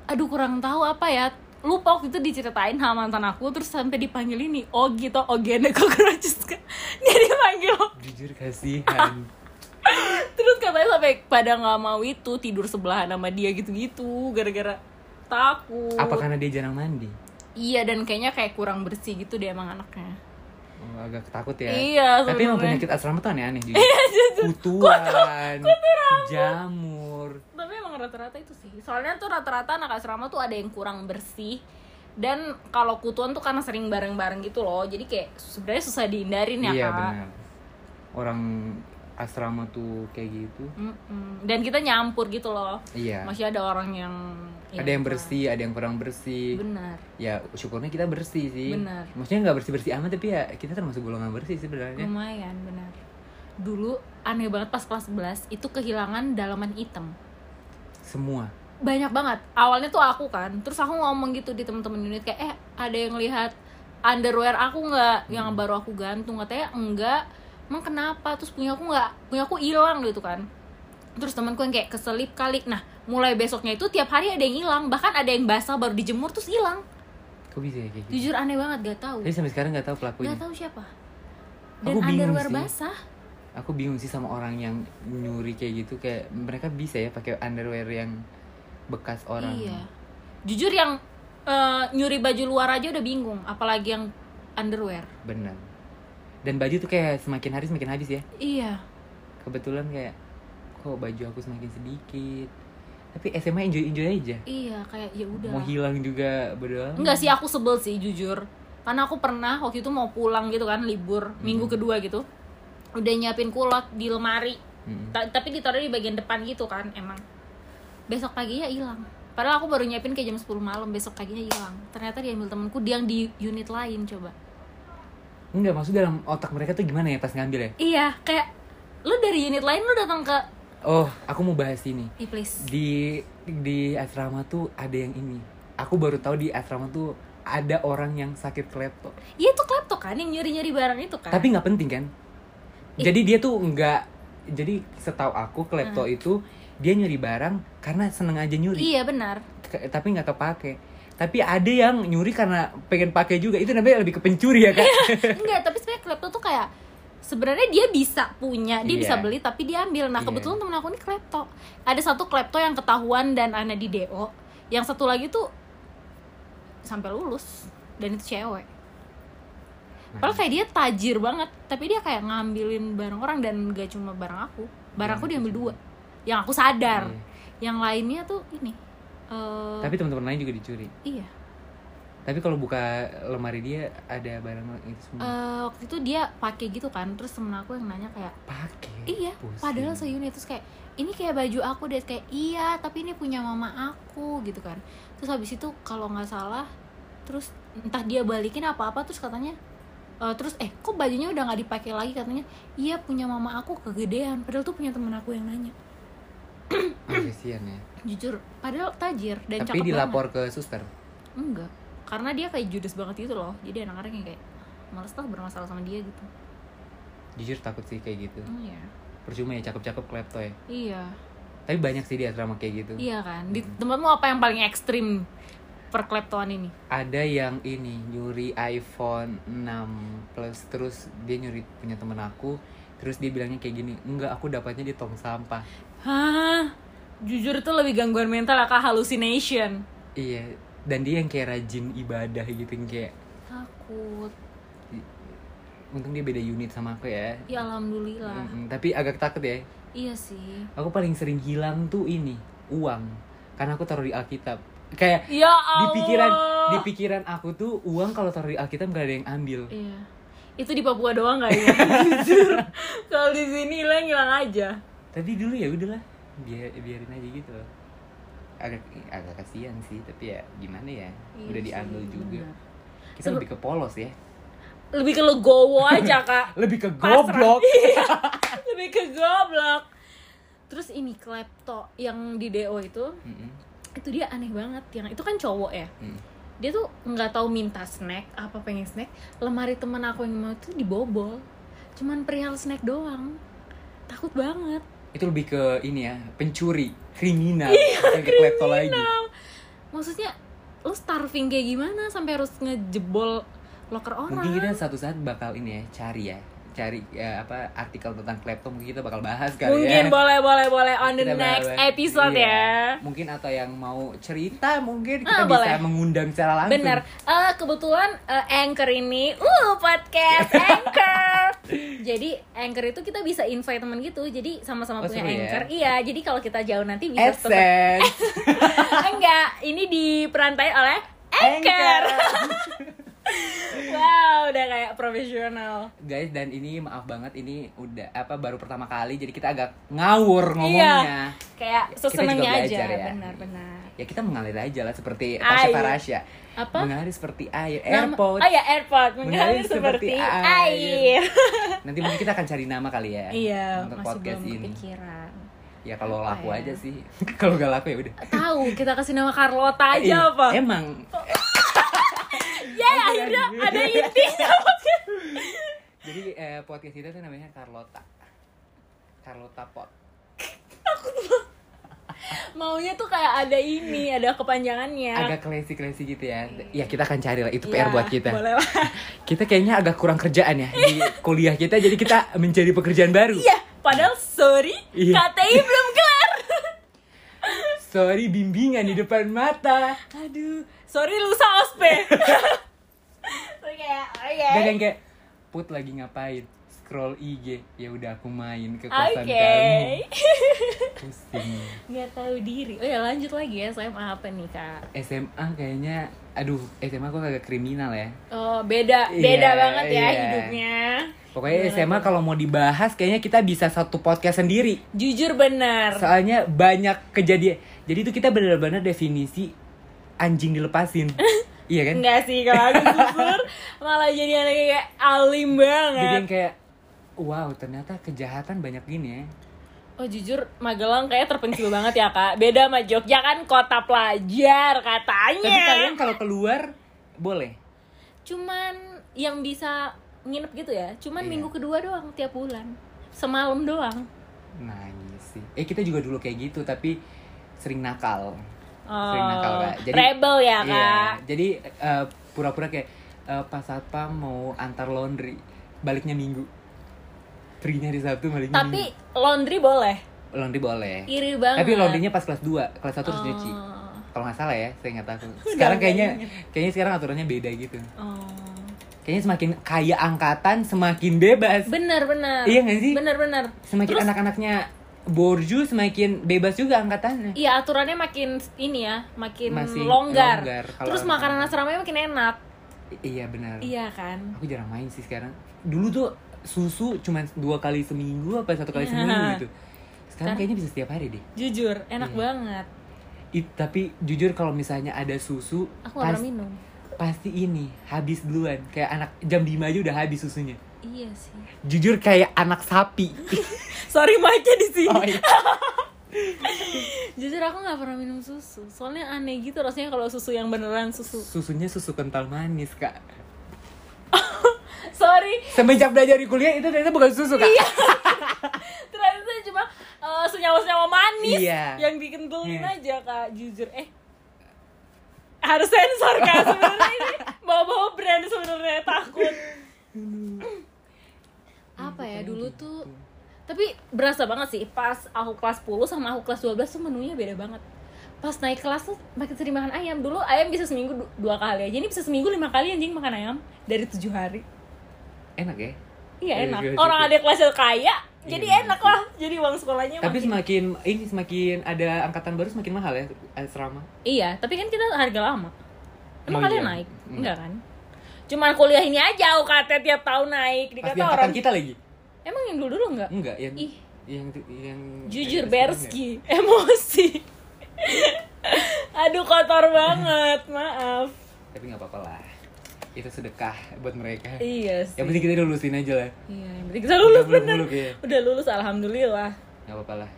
A: aduh kurang tahu apa ya lupa waktu itu diceritain sama mantan aku terus sampai dipanggil ini oh gitu oh gene cockroaches dia dipanggil
C: Jujur kasihan.
A: terus katanya sampai pada nggak mau itu tidur sebelahan sama dia gitu-gitu gara-gara takut
C: Apa karena dia jarang mandi?
A: iya dan kayaknya kayak kurang bersih gitu dia emang anaknya
C: Oh, agak takut ya.
A: Iya,
C: Tapi emang
A: sebenarnya. Iya,
C: penyakit asrama tuh aneh-aneh juga. Kutuan, jamur.
A: tapi emang rata-rata itu sih soalnya tuh rata-rata anak asrama tuh ada yang kurang bersih dan kalau kutuan tuh karena sering bareng-bareng gitu loh jadi kayak sebenarnya susah dihindarin ya
C: Iya
A: kak
C: benar. Orang asrama tuh kayak gitu.
A: Mm-mm. dan kita nyampur gitu loh
C: Iya.
A: masih ada orang yang ini,
C: Ada yang
A: Kak.
C: bersih, ada yang kurang bersih.
A: benar
C: Ya syukurnya kita bersih sih.
A: Benar.
C: Maksudnya nggak bersih bersih amat tapi ya kita termasuk golongan bersih
A: Hmm.
C: sebenarnya.
A: lumayan benar dulu aneh banget pas kelas 11 itu kehilangan dalaman hitam
C: Semua.
A: banyak banget awalnya tuh aku kan terus aku ngomong gitu di temen-temen unit kayak eh ada yang lihat underwear aku
C: Hmm.
A: nggak yang baru aku gantung katanya enggak emang kenapa terus punya aku nggak punya aku hilang gitu kan terus temanku yang kayak keselip kali nah mulai besoknya itu tiap hari ada yang hilang bahkan ada yang basah baru dijemur terus hilang
C: Hmm. Kok bisa ya kayak gitu?
A: jujur aneh banget gak tahu
C: Tapi sampai sekarang nggak tahu pelakunya.
A: Iya. nggak tahu siapa dan
C: Aku bingung
A: underwear
C: sih.
A: basah
C: Aku bingung sih sama orang yang nyuri kayak gitu kayak mereka bisa ya pakai underwear yang bekas orang.
A: iya jujur yang eh, nyuri baju luar aja udah bingung apalagi yang underwear
C: Benar. Dan baju tuh kayak semakin hari semakin habis ya.
A: iya
C: Kebetulan kayak kok baju aku semakin sedikit. Tapi SMA enjoy enjoy aja.
A: Iya, kayak ya udah.
C: Mau hilang juga berdua.
A: Enggak sih aku sebel sih jujur. Karena aku pernah waktu itu mau pulang gitu kan libur
C: Hmm.
A: minggu kedua gitu. Udah nyiapin kulot di lemari.
C: Hmm.
A: Ta- tapi ditaruh di bagian depan gitu kan emang. Besok paginya hilang. Padahal aku baru nyiapin kayak jam 10 malam, besok paginya hilang. Ternyata diambil temanku dia yang di unit lain coba.
C: Enggak maksud dalam otak mereka tuh gimana ya pas ngambil ya?
A: Iya, kayak lu dari unit lain lu datang ke
C: Oh, aku mau bahas ini.
A: Ih, please.
C: Di di asrama tuh ada yang ini. Aku baru tahu di asrama tuh ada orang yang sakit klepto.
A: Iya itu klepto kan yang nyuri-nyuri barang itu kan.
C: Tapi nggak penting kan? Jadi dia tuh nggak. Jadi setahu aku klepto
A: Hmm.
C: itu dia nyuri barang karena seneng aja nyuri.
A: Iya benar.
C: Ke- tapi nggak kepake. Tapi ada yang nyuri karena pengen pakai juga. Itu namanya lebih ke pencuri ya kak.
A: Iya. Enggak, tapi sebenarnya klepto tuh kayak sebenarnya dia bisa punya, dia
C: Iya.
A: bisa beli tapi dia ambil. Nah,
C: Iya.
A: kebetulan temen aku ini klepto. Ada satu klepto yang ketahuan dan ada di DO. Yang satu lagi tuh sampai lulus dan itu cewek. Padahal kayak dia tajir banget, tapi dia kayak ngambilin barang orang dan gak cuma barang aku. Barang aku diambil dua. Yang aku sadar.
C: Iya.
A: Yang lainnya tuh ini. eh,
C: Tapi teman-teman lain juga dicuri.
A: iya.
C: Tapi kalau buka lemari dia ada barang itu semua.
A: Eh, waktu itu dia pakai gitu kan, terus temen aku yang nanya kayak
C: pakai.
A: Iya,
C: Pusing.
A: padahal seunit terus kayak ini kayak baju aku deh kayak iya, tapi ini punya mama aku gitu kan. Terus habis itu kalau nggak salah terus entah dia balikin apa-apa terus katanya eh, terus eh kok bajunya udah nggak dipakai lagi katanya iya punya mama aku kegedean padahal tuh punya temen aku yang nanya
C: Ah, kasihan ya.
A: jujur padahal tajir dan
C: Tapi
A: cakep
C: dilapor ke suster.
A: banget enggak karena dia kayak judes banget gitu loh jadi anak-anak yang kayak males tau bermasalah sama dia gitu
C: Jujur takut sih kayak gitu.
A: Oh, iya
C: Percuma ya cakep-cakep klepto ya.
A: iya
C: Tapi banyak sih di asrama kayak gitu.
A: iya kan di tempatmu apa yang paling ekstrim perkleptoan ini
C: Ada yang ini nyuri iPhone 6 Plus terus dia nyuri punya temen aku. Terus dia bilangnya kayak gini, enggak aku dapatnya di tong sampah.
A: Hah? Jujur itu lebih gangguan mental ya kak hallucination.
C: Iya. Dan dia yang kayak rajin ibadah gitu yang kayak
A: Takut.
C: untung dia beda unit sama aku ya.
A: Ya alhamdulillah.
C: Mm-mm, tapi agak takut ya.
A: Iya sih.
C: Aku paling sering hilang tuh ini uang karena aku taruh di Alkitab. Kayak
A: Ya
C: di
A: Allah.
C: pikiran di pikiran aku tuh uang kalau taruh di Alkitab gak ada yang ambil.
A: Iya. Itu di Papua doang kali ya. Jujur. Kalau di sini hilang hilang aja.
C: Tapi dulu ya udahlah, biar biarin aja gitu. loh. Agak eh, agak kasihan sih, tapi ya gimana ya?
A: Iya
C: udah
A: sih,
C: diambil juga.
A: benar.
C: Kita
A: Sebe-
C: lebih ke polos ya.
A: Lebih ke legowo aja kak.
C: Lebih ke
A: Pasrah.
C: goblok.
A: Iya. Lebih ke goblok. Terus ini klepto yang di DO itu,
C: Mm-mm,
A: itu dia aneh banget. Yang itu kan cowok ya.
C: mm.
A: dia tuh nggak tahu minta snack apa pengen snack lemari teman aku yang mau itu dibobol cuman perihal snack doang takut banget
C: Itu lebih ke ini ya, pencuri, kriminal,
A: Iya,
C: bukan ke klepto lagi.
A: maksudnya lu starving kayak gimana sampai harus ngejebol loker orang
C: Mungkin kita satu saat bakal ini ya, cari ya, cari ya, apa artikel tentang klepto mungkin kita bakal bahas kali ya.
A: mungkin boleh boleh boleh on the
C: Kita
A: next
C: bahas-
A: episode
C: iya.
A: ya
C: Mungkin atau yang mau cerita mungkin kita
A: Ah,
C: bisa
A: boleh.
C: mengundang secara langsung.
A: Bener, Eh, kebetulan eh, Anchor ini, uh podcast Anchor. jadi Anchor itu kita bisa invite temen gitu, jadi sama-sama
C: Oh,
A: punya
C: seru ya.
A: Anchor. Iya, jadi kalau kita jauh nanti bisa tetep-
C: AdSense.
A: Enggak, ini diperantai oleh
C: Anchor.
A: Anchor. wow, udah kayak profesional.
C: Guys dan ini maaf banget ini udah apa baru pertama kali jadi kita agak ngawur ngomongnya.
A: Kayak Iya. sesenengnya
C: juga
A: aja,
C: belajar ya.
A: benar-benar.
C: Ya kita mengalir aja lah seperti Tasya
A: Air.
C: Farasya.
A: Apa?
C: Mengalir seperti air,
A: Nama-
C: airport.
A: Oh ya, airport
C: Mengalir
A: mengalir
C: seperti
A: seperti,
C: air.
A: air.
C: Nanti mungkin kita akan cari nama kali ya.
A: iya,
C: untuk
A: masih
C: podcast
A: belum
C: ini.
A: kepikiran.
C: Ya kalau
A: Apa
C: laku
A: ya?
C: aja sih. kalau gak laku ya udah.
A: Tahu, kita kasih nama Carlota aja
C: Eh,
A: apa?
C: Emang
A: Ya, akhirnya ada intinya.
C: Jadi eh, podcast kita tuh namanya Carlota. Carlota Pot.
A: Maunya tuh kayak ada ini, ada kepanjangannya.
C: Agak classy-classy gitu ya. Ya kita akan cari lah itu
A: Ya,
C: PR buat kita.
A: Iya. Boleh lah.
C: Kita kayaknya agak kurang kerjaan ya di kuliah kita jadi kita mencari pekerjaan baru.
A: Iya, padahal sorry,
C: Iya.
A: KTI belum kelar.
C: Sorry bimbingan di depan mata.
A: Aduh, sorry lusa ospe. Terus kayak, ya, oke.
C: Dan yang kayak put lagi ngapain? Scroll IG. Ya udah aku main ke kosan
A: Oke.
C: kamu. Pusing.
A: Nggak tahu diri. Oh ya lanjut lagi ya, saya apa nih kak?
C: SMA kayaknya aduh, SMA aku agak kriminal ya.
A: Oh beda,
C: Iya,
A: beda banget ya
C: iya.
A: hidupnya.
C: Pokoknya SMA kalau mau dibahas kayaknya kita bisa satu podcast sendiri.
A: Jujur benar.
C: Soalnya banyak kejadian. Jadi itu kita benar-benar definisi anjing dilepasin. iya kan?
A: Enggak sih kalau aku jujur malah jadi anak yang kayak alim
C: Jadi
A: banget.
C: yang kayak wow, ternyata kejahatan banyak gini ya.
A: Oh jujur Magelang kayak terpencil banget ya kak Beda sama Jogja kan kota pelajar katanya
C: Tapi kalian kalau keluar boleh.
A: Cuman yang bisa nginep gitu ya Cuman
C: Iya.
A: minggu kedua doang tiap bulan Semalam doang
C: Nah, iya sih. Eh kita juga dulu kayak gitu tapi sering nakal. Sering nakal, Kak. Jadi-
A: Oh, Rebel ya kak
C: Iya. Jadi eh, pura-pura kayak eh, pas satpam mau antar laundry, baliknya minggu. Perginya hari Sabtu, baliknya
A: Tapi
C: minggu.
A: laundry boleh
C: laundry boleh.
A: Iri banget
C: Hmm. Tapi laundrynya pas kelas 2, kelas 1
A: Oh.
C: harus nyuci. Kalau nggak salah ya, saya nggak tahu. Sekarang kayaknya kayaknya sekarang aturannya beda gitu.
A: Oh.
C: Kayaknya semakin kaya angkatan, semakin bebas.
A: Bener bener
C: Iya nggak sih?
A: Bener bener
C: Semakin anak-anaknya borju, semakin bebas juga angkatannya.
A: Iya aturannya makin ini ya Makin
C: Masih
A: longgar,
C: longgar kalau
A: Terus
C: orang-
A: makanan asramanya makin enak
C: I- iya benar.
A: Iya kan
C: Aku jarang main sih sekarang. Dulu tuh susu cuma dua kali seminggu apa satu kali
A: Iya.
C: seminggu gitu. Sekarang
A: Sekarang-
C: kayaknya bisa setiap hari deh.
A: Jujur enak
C: Iya.
A: banget
C: I- tapi jujur kalau misalnya ada susu,
A: Aku
C: pas-
A: gak pernah minum
C: pasti ini habis duluan. Kayak anak jam 5 aja udah habis susunya.
A: Iya sih.
C: Jujur kayak anak sapi.
A: Sorry mic di sini.
C: Oh, iya.
A: Jujur aku nggak pernah minum susu. Soalnya aneh gitu rasanya kalau susu yang beneran susu.
C: Susunya susu kental manis, Kak.
A: Sorry,
C: Semenjak belajar di kuliah itu ternyata bukan susu, Kak.
A: ternyata cuma eh, senyawa-senyawa manis
C: Iya.
A: yang dikentulin
C: Iya.
A: aja kak. Jujur, eh harus sensor kak sebenarnya ini bawa-bawa brand sebenarnya takut. Apa ya
C: Iya,
A: dulu
C: gitu.
A: tuh tapi berasa banget sih pas aku kelas 10 sama aku kelas 12 tuh menunya beda banget pas naik kelas tuh makin sering makan ayam dulu ayam bisa seminggu du- dua kali aja ini bisa seminggu lima kali anjing makan ayam dari tujuh hari
C: Enak ya?
A: iya
C: Iya,
A: enak
C: juga sih.
A: orang ada kelasnya kaya jadi
C: Iya,
A: enak lah jadi uang sekolahnya
C: Tapi
A: makin-
C: semakin ini semakin ada angkatan baru semakin mahal ya asrama.
A: iya tapi kan kita harga lama emang
C: Emang
A: kalian
C: iya?
A: naik
C: Enggak.
A: enggak kan cuman kuliah ini aja UKT tiap tahun naik
C: Pas
A: dikata
C: di angkatan
A: orang
C: kita Iya, lagi.
A: emang yang dulu dulu enggak
C: Enggak, yang
A: Ih.
C: yang yang
A: Jujur
C: yang- ya. iya.
A: Berski, emosi. Aduh kotor banget, maaf.
C: Tapi nggak apa-apa lah. Itu sedekah buat mereka.
A: Iya
C: Yang
A: sih.
C: penting kita udah lulusin aja lah.
A: Iya, yang penting kita lulus
C: Udah
A: bener.
C: muluk-muluk ya.
A: Udah lulus alhamdulillah.
C: Nggak apa-apa lah.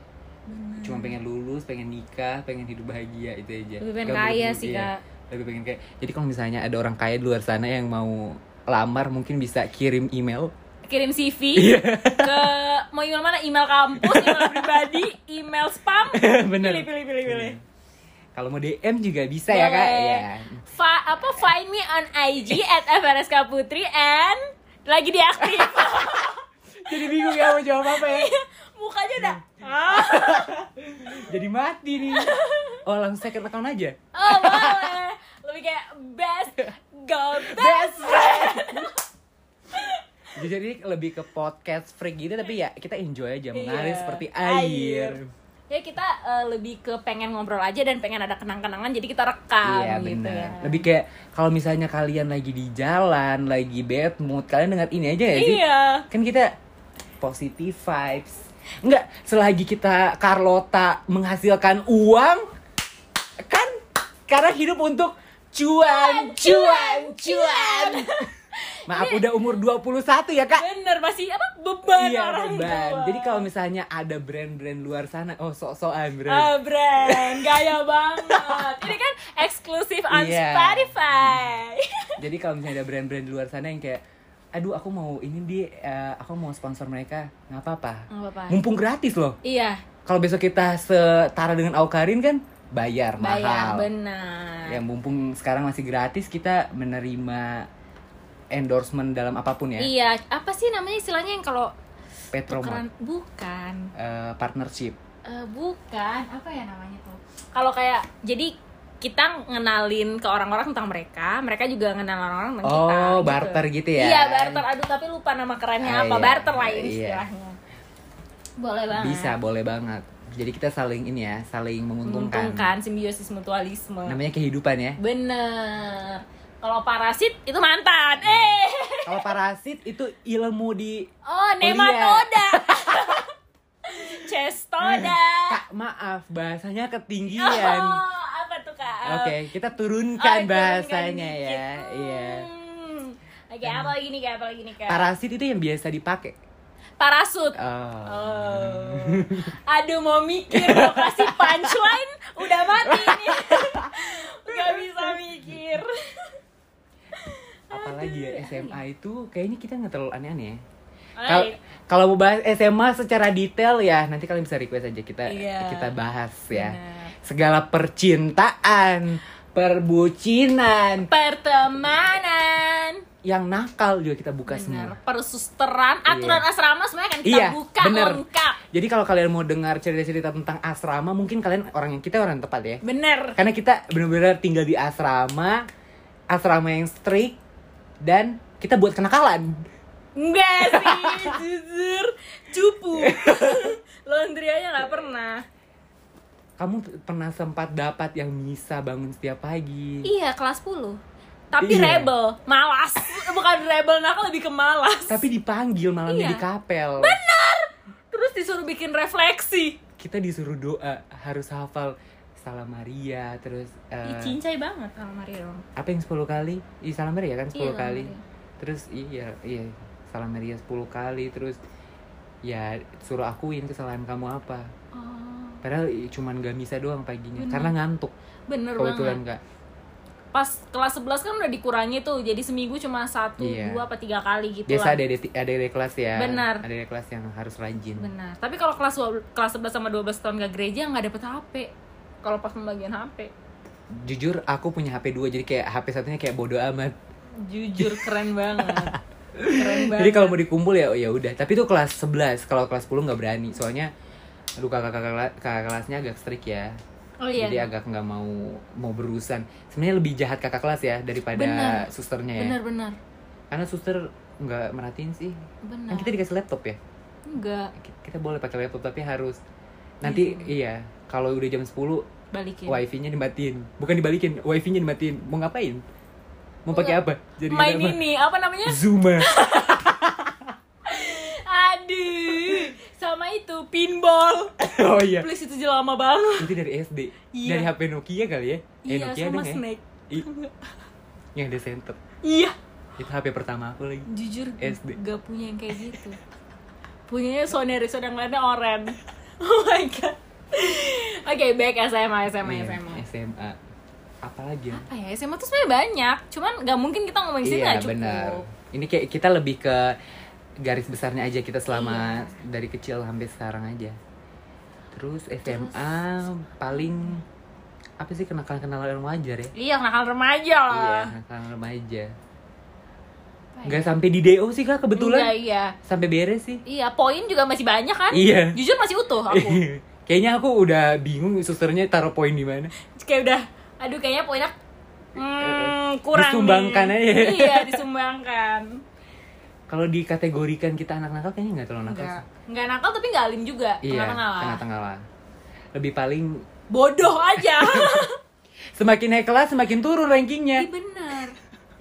C: Cuma pengen lulus, pengen nikah, pengen hidup bahagia itu aja.
A: Lebih pengen
C: Nggak
A: kaya
C: muluk-muluk,
A: sih,
C: iya.
A: Kak.
C: Lebih pengen kaya. Jadi kalau misalnya ada orang kaya di luar sana yang mau lamar mungkin bisa kirim email.
A: Kirim CV
C: Iya.
A: ke mau email mana? Email kampus, email pribadi, email spam.
C: Bener.
A: Pilih pilih pilih pilih.
C: Kalau mau DM juga bisa ya kak.
A: Boleh.
C: Ya.
A: Fa- apa find me on IG at FRSK Putri and lagi diaktif.
C: Jadi bingung ya mau jawab apa ya.
A: Mukanya udah. Ah.
C: Jadi mati nih. Oh langsung second account aja.
A: Oh boleh Lebih kayak best Go best
C: Jujur ini lebih ke podcast freak gitu tapi ya kita enjoy aja mengalir
A: Iya.
C: seperti air.
A: Ya kita eh, lebih ke pengen ngobrol aja Dan pengen ada kenang-kenangan Jadi kita rekam
C: Iya
A: gitu
C: benar.
A: ya
C: Lebih kayak kalau misalnya kalian lagi di jalan, lagi bad mood, kalian dengar ini aja ya sih.
A: Iya
C: Kan kita positive vibes. Enggak, selagi kita Carlota menghasilkan uang kan karena hidup untuk cuan, cuan, cuan. Maaf udah umur 21 ya, Kak.
A: Bener masih apa beban
C: Iya,
A: orang
C: beban.
A: tua.
C: Jadi kalau misalnya ada brand-brand luar sana, oh sok-sokan brand.
A: Ah, brand gaya banget. Ini kan eksklusif on
C: Iya.
A: Spotify.
C: Jadi kalau misalnya ada brand-brand di luar sana yang kayak aduh aku mau ini di eh, aku mau sponsor mereka nggak apa-apa
A: Nggak apa-apa.
C: mumpung gratis loh
A: iya,
C: kalau besok kita setara dengan Aukarin kan bayar,
A: bayar
C: mahal
A: benar.
C: ya mumpung sekarang masih gratis kita menerima endorsement dalam apapun ya
A: Iya, apa sih namanya istilahnya yang kalau
C: Petromart
A: tukeran bukan.
C: eh, partnership
A: Eh, bukan apa ya namanya tuh kalau kayak jadi kita ngenalin ke orang-orang tentang mereka mereka juga ngenal orang-orang tentang kita
C: oh
A: gitu.
C: barter gitu ya
A: iya barter aduh tapi lupa nama kerennya
C: Ah,
A: apa
C: iya,
A: barter lah
C: iya.
A: istilahnya boleh banget
C: bisa boleh banget jadi kita saling ini ya saling menguntungkan,
A: menguntungkan simbiosis mutualisme
C: namanya kehidupan ya
A: bener kalau parasit itu mantan eh
C: kalau parasit itu ilmu di
A: oh
C: iya.
A: nematoda cestoda
C: Hmm, Kak, maaf, bahasanya
A: oh
C: ketinggian.
A: apa tuh kak
C: Oke, kita turunkan
A: Oh,
C: bahasanya
A: turunkan
C: ya.
A: dikit. Oh,
C: Iya. Kan.
A: Hmm. Oke, apa ya. lagi nih kak? Apa lagi nih kak?
C: Parasit itu yang biasa dipakai.
A: Parasut.
C: Oh.
A: Oh. Aduh mau mikir mau kasih punchline udah mati nih. Gak bisa mikir.
C: Apalagi ya
A: Aduh.
C: SMA itu kayaknya kita nggak terlalu aneh-aneh ya. Kal-
A: Alright.
C: Kalau mau bahas SMA secara detail ya nanti kalian bisa request aja kita
A: Iya.
C: kita bahas ya.
A: Benar.
C: Segala percintaan, perbucinan,
A: Pertemanan.
C: yang nakal juga kita buka semua.
A: Benar. Persusteran, aturan asrama semuanya kan kita
C: Iya,
A: buka
C: bener.
A: lengkap.
C: Jadi kalau kalian mau dengar cerita-cerita tentang asrama, mungkin kalian orang yang kita orang yang tepat ya.
A: Bener.
C: Karena kita benar-benar tinggal di asrama, asrama yang strict dan kita buat kenakalan.
A: Enggak sih, jujur. Cupu. Laundry aja nggak pernah.
C: Kamu t- pernah sempat dapat yang bisa bangun setiap pagi.
A: Iya, kelas 10. Tapi
C: Iya.
A: rebel, malas. Bukan rebel nakal lebih ke malas.
C: Tapi dipanggil malam
A: Iya.
C: jadi kapel.
A: Terus disuruh bikin refleksi.
C: Kita disuruh doa, harus hafal salam Maria, terus
A: Ih,
C: eh,
A: cincai banget sama Maria dong.
C: apa yang 10 kali? Ih, salam Maria kan 10
A: Iya, salam
C: kali.
A: Maria.
C: Terus iya, iya, salam Maria 10 kali terus ya suruh akuin kesalahan kamu apa.
A: Oh,
C: Padahal i- cuman gak bisa doang paginya
A: Bener.
C: karena ngantuk.
A: bener
C: Kebetulan
A: banget.
C: enggak.
A: Pas kelas 11 kan udah dikurangi tuh, jadi seminggu cuma satu,
C: Iya.
A: dua, apa tiga kali gitu
C: Biasa
A: lah.
C: ada ada kelas ya.
A: Benar.
C: Ada kelas yang harus rajin.
A: Benar. Tapi kalau kelas dua- kelas 11 sama 12 tahun gak gereja nggak dapet HP. Kalau pas pembagian HP.
C: Jujur aku punya HP 2 jadi kayak HP satunya kayak bodo amat.
A: Jujur keren banget. Keren banget.
C: Jadi kalau mau dikumpul ya ya udah. Tapi itu kelas 11, kalau kelas 10 nggak berani. Soalnya aduh kakak-kakak kakak kelasnya agak strict ya.
A: Oh iya.
C: Jadi agak nggak mau mau berurusan. Sebenarnya lebih jahat kakak kelas ya daripada
A: Bener.
C: susternya ya.
A: Benar benar.
C: Karena suster nggak merhatiin sih.
A: Benar.
C: Kan kita dikasih laptop ya.
A: Enggak
C: Ki- Kita boleh pakai laptop tapi harus nanti iya kalau udah jam 10
A: balikin.
C: wifi-nya dimatiin. Bukan dibalikin, wifi-nya dimatiin. Mau ngapain? Mau pakai apa? Jadi
A: Main
C: apa?
A: ini apa namanya?
C: Zuma.
A: Aduh. Sama itu pinball.
C: oh iya.
A: Please itu udah lama banget.
C: Itu dari SD.
A: Iya.
C: Dari HP Nokia kali ya? Eh,
A: Iya,
C: Nokia
A: sama
C: dong ya?
A: Snake.
C: I- yang ada center.
A: Iya,
C: Itu HP pertama aku lagi.
A: jujur
C: SD.
A: gak punya yang kayak gitu. Punyanya Sony Ericsson yang warna oranye. Oh my god. Oke, back SMA, SMA,
C: Iya,
A: SMA.
C: SMA. Apalagi ya?
A: Apa ya, SMA tuh sebenarnya banyak. Cuman gak mungkin kita ngomongin sini
C: iya
A: gak cukup.
C: benar ini kayak kita lebih ke garis besarnya aja kita
A: Iya.
C: selama dari kecil sampai sekarang aja terus SMA paling apa sih kenakalan kenalan remaja ya
A: Iya, nakal remaja lah.
C: iya kenakalan remaja
A: Apa ya?
C: nggak sampai di do sih
A: Iya,
C: kak kebetulan
A: iya.
C: sampai beres sih
A: Iya, poin juga masih banyak kan?
C: Iya.
A: Jujur masih utuh aku.
C: kayaknya aku udah bingung susternya taruh poin di mana
A: kayak udah aduh kayaknya poinnya hmm, kurang
C: Iya. Disumbangkan
A: nih.
C: aja.
A: iya disumbangkan
C: kalau dikategorikan kita anak nakal kayaknya nggak terlalu nakal
A: nggak
C: sih.
A: nggak nakal tapi nggak alim juga
C: iya
A: tengah-tengah lah
C: tengah-tengah lah lebih paling
A: bodoh aja
C: semakin naik kelas semakin turun rankingnya
A: Ih, bener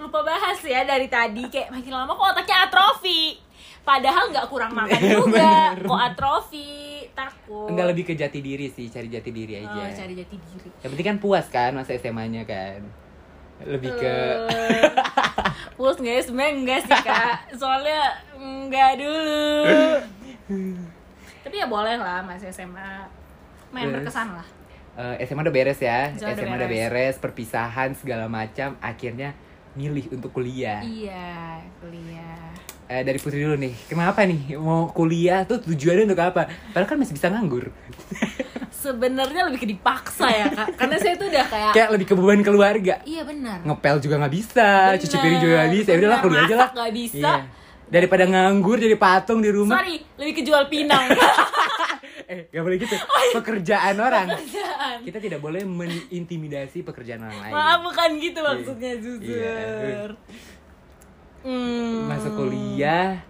A: lupa bahas ya dari tadi kayak makin lama kok otaknya atrofi padahal nggak kurang makan juga kok atrofi takut
C: Enggak Iya, lebih ke jati diri sih, cari jati diri
A: Oh,
C: aja.
A: cari jati diri
C: Yang penting kan puas kan masa SMA-nya kan. Lebih ke
A: Eh, Puas nggak ya? Sebenernya enggak sih kak Soalnya enggak dulu Tapi ya boleh lah masih SMA Main
C: Yes.
A: berkesan lah
C: eh, SMA udah beres ya.
A: Udah
C: SMA udah beres, perpisahan segala macam akhirnya milih untuk kuliah.
A: Iya kuliah
C: Eh, dari Putri dulu nih. Kenapa nih mau kuliah tuh tujuannya untuk apa? Padahal kan masih bisa nganggur.
A: Sebenarnya lebih ke dipaksa ya kak Karena saya tuh udah kayak
C: Kayak lebih ke beban keluarga.
A: Iya benar
C: Ngepel juga nggak bisa,
A: Bener,
C: cuci piring juga nggak bisa. Ya udahlah
A: bener.
C: kuliah aja lah.
A: Masak nggak bisa.
C: Iya. Daripada nganggur jadi patung di rumah.
A: Sorry, lebih ke jual pinang
C: Eh, gak boleh gitu.
A: Oh, iya.
C: Pekerjaan orang.
A: Kerjaan
C: kita tidak boleh menintimidasi pekerjaan orang lain.
A: Maaf bukan gitu maksudnya jujur Hmm.
C: Masuk kuliah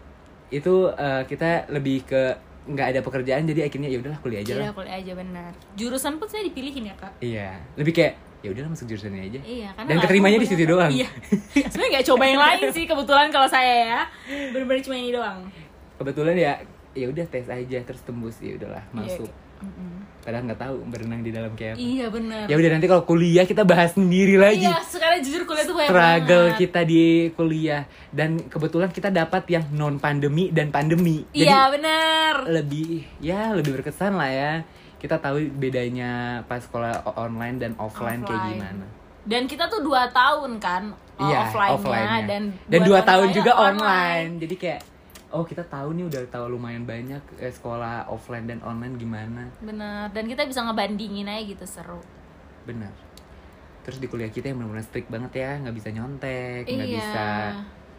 C: itu eh, kita lebih ke nggak ada pekerjaan jadi akhirnya ya udahlah kuliah aja lah.
A: Iya kuliah aja benar Jurusan pun saya dipilihin ya kak
C: Iya, lebih kayak ya udahlah masuk jurusan ini aja.
A: Iya, karena
C: Dan
A: nggak
C: keterimanya
A: tahu
C: di situ
A: banyak-
C: doang.
A: Iya. Sebenarnya nggak coba yang lain sih kebetulan kalau saya ya. Bener-bener cuma ini doang.
C: Kebetulan ya ya udah tes aja terus tembus ya udahlah
A: Iya,
C: masuk.
A: Mm-mm.
C: Padahal nggak tahu berenang di dalam kayak apa.
A: Iya benar.
C: Ya udah nanti kalau kuliah kita bahas sendiri lagi.
A: Iya, sekarang jujur kuliah tuh banyak
C: struggle
A: banget.
C: kita di kuliah dan kebetulan kita dapat yang non pandemi dan pandemi. Jadi
A: Iya benar.
C: lebih ya lebih berkesan lah ya. Kita tahu bedanya pas sekolah o- online dan offline, kayak
A: Offline.
C: gimana.
A: Dan kita tuh dua tahun kan oh,
C: Iya,
A: offline-nya,
C: offline-nya.
A: dan
C: dan dua tahun
A: lainnya
C: juga online. Jadi kayak oh kita tahu nih udah tahu lumayan banyak eh, sekolah offline dan online gimana.
A: Bener, dan kita bisa ngebandingin aja gitu seru.
C: Benar. Terus di kuliah kita yang benar-benar strict banget ya, nggak bisa nyontek, nggak
A: Iya.
C: bisa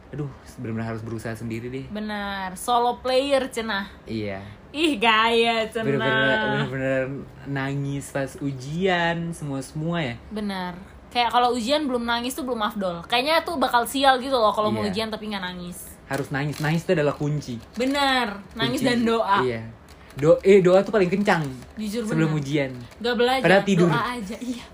C: aduh benar-benar harus berusaha sendiri deh.
A: Bener, solo player cenah.
C: Iya.
A: Ih gaya cenah.
C: Bener-bener bener nangis pas ujian semua semua ya.
A: Bener. Kayak kalau ujian belum nangis tuh belum afdol. Kayaknya tuh bakal sial gitu loh kalau mau
C: Iya.
A: ujian tapi nggak nangis.
C: Harus nangis. Nangis itu adalah kunci.
A: Bener, nangis
C: Kunci.
A: dan doa.
C: Iya. Do eh doa tuh paling kencang
A: Jujur
C: sebelum
A: bener.
C: ujian.
A: Gak belajar,
C: Padahal tidur.
A: doa aja. Iya.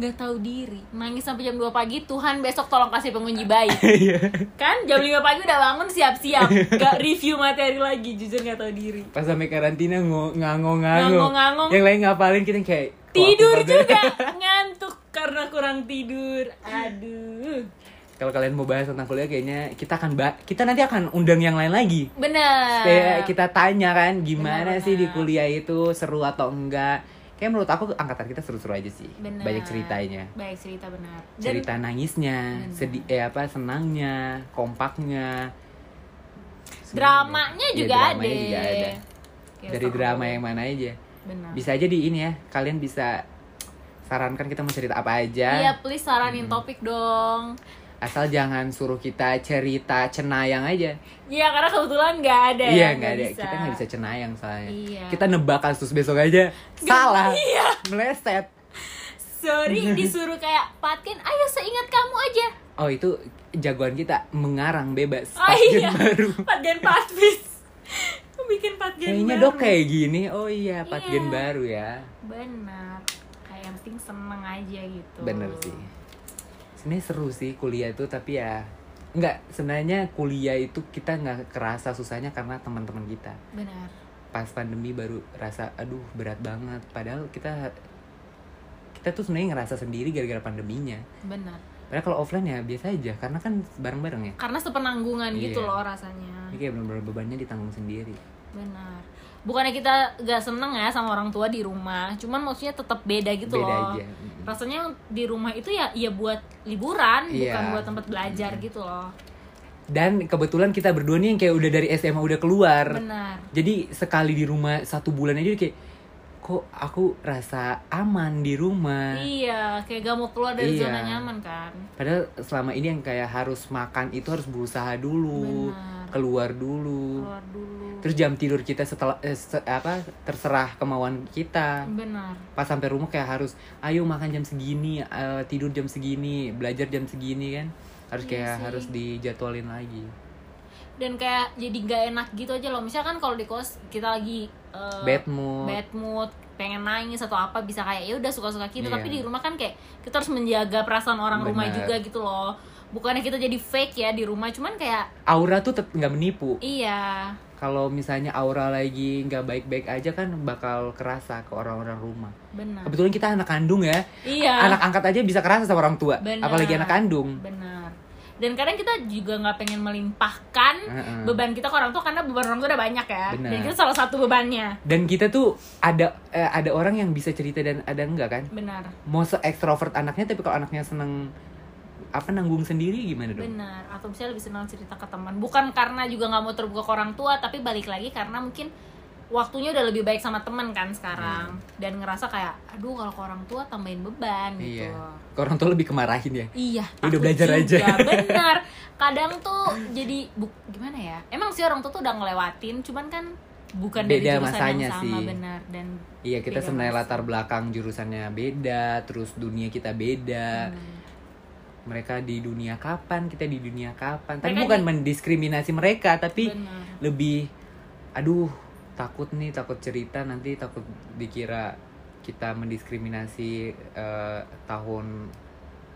A: Gak tahu diri. Nangis sampai jam 2 pagi, Tuhan besok tolong kasih pengunci baik.
C: Iya.
A: kan jam 5 pagi udah bangun siap-siap. Gak review materi lagi, jujur gak tahu diri.
C: pas sampai karantina ngo- ngangong-ngangong
A: Ngangong-ngangong.
C: yang lain ngapalin kita kayak "Kok aku
A: Tidur
C: kagak?"
A: juga ngantuk karena kurang tidur. Aduh.
C: kalau kalian mau bahas tentang kuliah kayaknya kita akan ba- kita nanti akan undang yang lain lagi
A: Bener.
C: kayak Iya, kita tanya kan gimana
A: Benar-benar.
C: sih di kuliah itu seru atau enggak kayak menurut aku angkatan kita seru-seru aja sih
A: Bener.
C: banyak ceritanya
A: Baik cerita benar. Dan
C: cerita nangisnya
A: Benar.
C: sedih eh apa senangnya kompaknya Semuanya.
A: dramanya
C: Iya,
A: juga ada.
C: dramanya juga ada.
A: Kayak
C: dari
A: seru. Nah.
C: drama yang mana aja
A: benar.
C: bisa aja di ini ya kalian bisa sarankan kita mau cerita apa aja
A: Iya, please saranin
C: Hmm.
A: topik dong.
C: asal jangan suruh kita cerita cenayang aja
A: Iya, karena kebetulan nggak ada. ya,
C: iya nggak ada kita nggak bisa cenayang soalnya
A: Iya.
C: kita nebak kasus besok aja salah
A: iya.
C: meleset
A: Sorry, disuruh kayak Patin, ayo seingat kamu aja.
C: oh itu jagoan kita mengarang bebas
A: Oh
C: Pasien
A: iya,
C: baru
A: Patgen Patvis. Bikin Patgen
C: kayaknya
A: baru.
C: dok kayak gini oh iya patgen
A: Iya.
C: baru ya
A: Benar. Kayak yang penting seneng aja gitu.
C: bener sih sebenarnya seru sih kuliah itu tapi ya nggak sebenarnya kuliah itu kita nggak kerasa susahnya karena teman-teman kita
A: Benar.
C: pas pandemi baru rasa aduh berat banget padahal kita kita tuh sebenarnya ngerasa sendiri gara-gara pandeminya
A: Benar.
C: padahal kalau offline ya biasa aja karena kan bareng-bareng ya
A: Karena sepenanggungan
C: Iya.
A: gitu loh rasanya.
C: ini kayak benar-benar bebannya ditanggung sendiri
A: Benar. Bukannya kita gak seneng ya sama orang tua di rumah, cuman maksudnya tetap beda gitu
C: beda
A: loh.
C: aja Mm.
A: Rasanya di rumah itu ya ya buat liburan,
C: Iya.
A: bukan buat tempat belajar gitu loh.
C: dan kebetulan kita berdua nih yang kayak udah dari SMA udah keluar
A: Benar.
C: jadi sekali di rumah satu bulan aja kayak kok aku rasa aman di rumah
A: Iya, kayak gak mau keluar dari
C: Nah. Iya.
A: zona nyaman kan.
C: padahal selama ini yang kayak harus makan itu harus berusaha dulu
A: Benar. Oh.
C: keluar dulu
A: Keluar dulu.
C: terus jam tidur kita setelah eh, se- apa terserah kemauan kita
A: Benar.
C: pas sampai rumah kayak harus ayo makan jam segini eh, tidur jam segini belajar jam segini kan harus
A: Iya
C: kayak
A: sih.
C: harus dijadwalin lagi
A: Dan kayak jadi gak enak gitu aja loh. Misalkan kalau di kos kita lagi eh,
C: bad mood
A: bad mood, pengen nangis atau apa bisa kayak ya udah suka-suka kita.
C: Iya.
A: Tapi di rumah kan kayak kita harus menjaga perasaan orang rumah
C: Benar.
A: juga gitu loh. Bukannya kita jadi fake ya di rumah, cuman kayak
C: aura tuh tetap nggak menipu
A: iya.
C: kalau misalnya aura lagi nggak baik-baik aja kan bakal kerasa ke orang-orang rumah
A: Benar.
C: kebetulan kita anak kandung ya
A: Iya.
C: anak angkat aja bisa kerasa sama orang tua
A: Benar.
C: apalagi anak kandung
A: Benar. Dan kadang kita juga nggak pengen melimpahkan
C: Heeh.
A: beban kita ke orang tua karena beban orang tua udah banyak ya.
C: Hmm. Benar.
A: Dan kita salah satu bebannya.
C: dan kita tuh ada eh, ada orang yang bisa cerita dan ada enggak kan
A: Benar.
C: mau se ekstrovert anaknya tapi kalau anaknya seneng apa nanggung sendiri gimana dong?
A: Benar. Atau misalnya lebih senang cerita ke teman. Bukan karena juga nggak mau terbuka ke orang tua, tapi balik lagi karena mungkin waktunya udah lebih baik sama teman kan sekarang
C: Iya.
A: dan ngerasa kayak aduh kalau ke orang tua tambahin beban gitu.
C: Iya. Ke Orang tua lebih kemarahin ya.
A: Iya,
C: Ya udah
A: aku
C: belajar aja.
A: Benar. Kadang tuh jadi bu- gimana ya? Emang sih orang tuh tuh udah ngelewatin, cuman kan bukan
C: Beda
A: dari jurusan
C: masanya
A: yang sama
C: sih.
A: benar dan
C: Iya kita
A: Beda
C: sebenarnya
A: banget.
C: latar belakang jurusannya beda, terus dunia kita beda.
A: Hmm.
C: Mereka di dunia kapan, kita di dunia kapan. Tapi
A: Mereka
C: bukan
A: di-
C: mendiskriminasi mereka, tapi
A: benar.
C: lebih, aduh takut nih takut cerita nanti takut dikira kita mendiskriminasi eh, tahun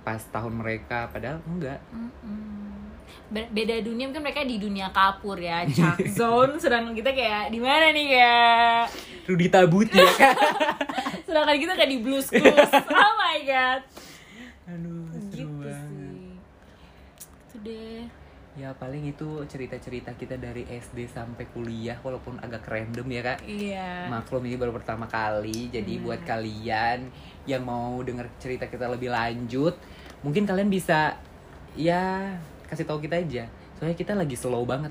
C: pas tahun mereka, padahal enggak.
A: Mm-mm. Be- beda dunia mungkin mereka di dunia kapur ya Chuck zone sedangkan kita kayak di mana nih kayak
C: Rudy Tabuti ya kan
A: sedangkan kita kayak di blues clues oh my god
C: aduh seru
A: gitu
C: banget
A: sih itu deh
C: ya paling itu cerita-cerita kita dari SD sampai kuliah walaupun agak random ya kak
A: iya
C: maklum ini baru pertama kali jadi buat kalian yang mau dengar cerita kita lebih lanjut mungkin kalian bisa ya kasih tahu kita aja soalnya kita lagi slow banget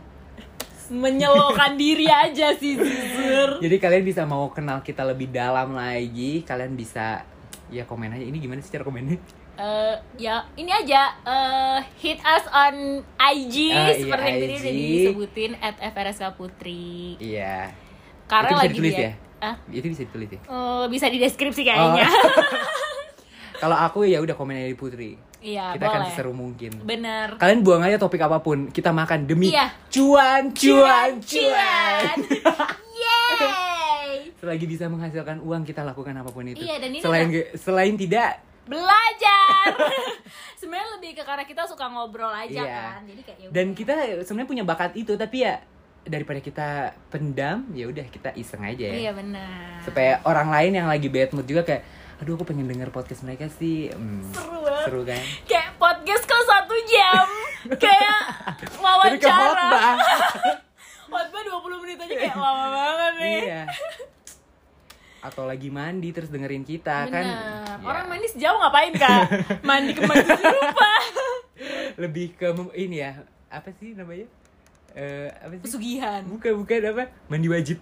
A: menyelokan diri aja sih jujur
C: jadi kalian bisa mau kenal kita lebih dalam lagi kalian bisa ya komen aja ini gimana sih cara komennya
A: Eh, ya ini aja eh, hit us on IG
C: Ah, iya,
A: seperti yang tadi
C: IG.
A: udah disebutin at FRSK Putri
C: iya
A: karena
C: Itu bisa
A: lagi
C: ditulis
A: dia
C: ya? Oh,
A: Ah,
C: itu bisa ditulis ya
A: eh, bisa di deskripsi kayaknya
C: kalau aku ya udah komen aja di Putri
A: iya
C: kita akan Kan-
A: boleh
C: seseru mungkin
A: bener
C: kalian buang aja topik apapun kita makan demi
A: Iya.
C: cuan cuan cuan
A: Yeay
C: selagi bisa menghasilkan uang kita lakukan apapun itu
A: Iya, dan ini
C: selain selain tidak
A: Belajar Sebenarnya lebih ke karena kita suka ngobrol aja
C: Iya.
A: kan Jadi kayak ya
C: dan
A: udah.
C: kita sebenarnya punya bakat itu tapi ya daripada kita pendam ya udah kita iseng aja ya
A: Iya benar
C: supaya orang lain yang lagi bad mood juga kayak aduh aku pengen denger podcast mereka sih Hmm,
A: Seru banget
C: seru kan
A: Kayak podcast kok satu jam Kayak
C: tapi ke
A: wawancara
C: khotbah.
A: Khotbah 20 menit aja kayak lama banget nih
C: iya atau lagi mandi terus dengerin kita kan
A: Benar.
C: ya,
A: Orang mandi sejauh ngapain kak? Mandi kemana lupa
C: lebih ke mem- ini ya apa sih namanya Eh, apa sih
A: Pesugihan
C: bukan bukan apa mandi wajib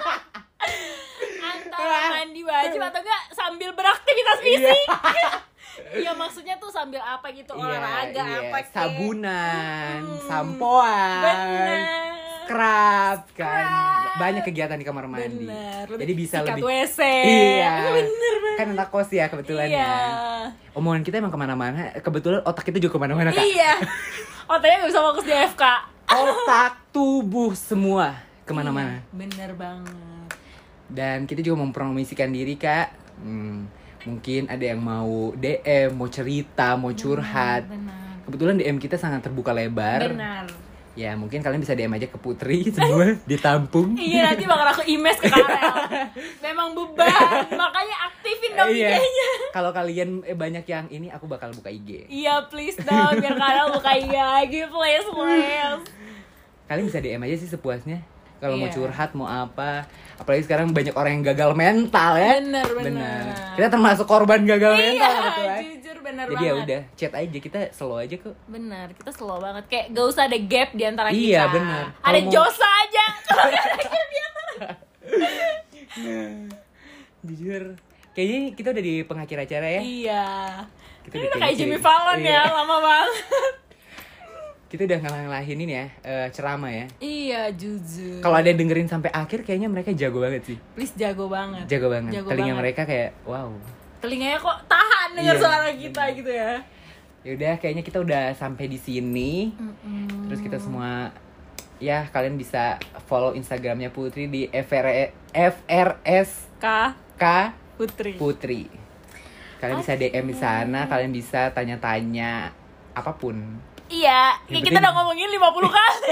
A: antara mandi wajib atau enggak sambil beraktivitas fisik Iya maksudnya tuh sambil apa gitu olahraga
C: Iya, iya.
A: apa kek.
C: sabunan,
A: Hmm.
C: sampoan,
A: benar
C: scrub kan.
A: Scrub.
C: Banyak kegiatan di kamar mandi.
A: benar
C: Jadi bisa
A: sikat
C: lebih
A: WC
C: Iya.
A: bener banget
C: Kan anak kos ya kebetulan
A: iya
C: ya. Omongan kita emang kemana-mana. Kebetulan otak kita juga kemana-mana kak.
A: iya otaknya nggak bisa fokus di FK
C: Otak, tubuh semua kemana-mana.
A: Iya, bener banget
C: Dan kita juga mempromosikan diri kak. Hmm, mungkin ada yang mau DM, mau cerita, mau curhat.
A: Hmm, benar
C: Kebetulan DM kita sangat terbuka lebar.
A: benar
C: Ya mungkin kalian bisa DM aja ke Putri semua ditampung.
A: iya nanti bakal aku imes ke Karel memang beban makanya aktifin dong
C: Iya.
A: IG-nya
C: Kalau kalian eh, banyak yang ini aku bakal buka IG.
A: Iya please dong biar Karel buka IG iya lagi please please.
C: Kalian bisa DM aja sih sepuasnya. Kalau
A: Iya.
C: mau curhat mau apa. Apalagi sekarang banyak orang yang gagal mental ya.
A: Bener, bener.
C: Kita termasuk korban gagal
A: Iya
C: mental kebetulan.
A: jujur bener
C: eh. Jadi
A: banget.
C: ya udah, chat aja kita slow aja kok.
A: Bener kita slow banget kayak gak usah ada gap di antara kita.
C: Iya, bener.
A: Ada
C: Kalau mau-
A: Josa aja. Kalau nggak ada gap ya.
C: Jujur. Kayaknya kita udah di pengakhir acara ya.
A: Iya.
C: Kita
A: Ini
C: udah
A: udah
C: kayak
A: kayak Jimmy
C: ciri-
A: Fallon
C: iya.
A: ya lama banget.
C: Kita udah ngelang-ngelahin ini ya, eh, ceramah ya.
A: Iya jujur.
C: Kalau ada yang dengerin sampai akhir kayaknya mereka jago banget sih.
A: Please jago banget.
C: Jago banget.
A: Jago
C: Telinga
A: banget.
C: mereka kayak wow.
A: Telinganya kok tahan denger
C: Iya,
A: suara kita gitu ya.
C: Yaudah, kayaknya kita udah sampai di sini.
A: Mm-mm.
C: Terus kita semua, ya kalian bisa follow Instagramnya Putri di E, FR FRSK
A: Kak Putri.
C: Putri. Kalian bisa DM di sana, kalian bisa tanya-tanya apapun.
A: Iya, ini
C: Yang
A: kita
C: penting-
A: udah ngomongin 50 kali.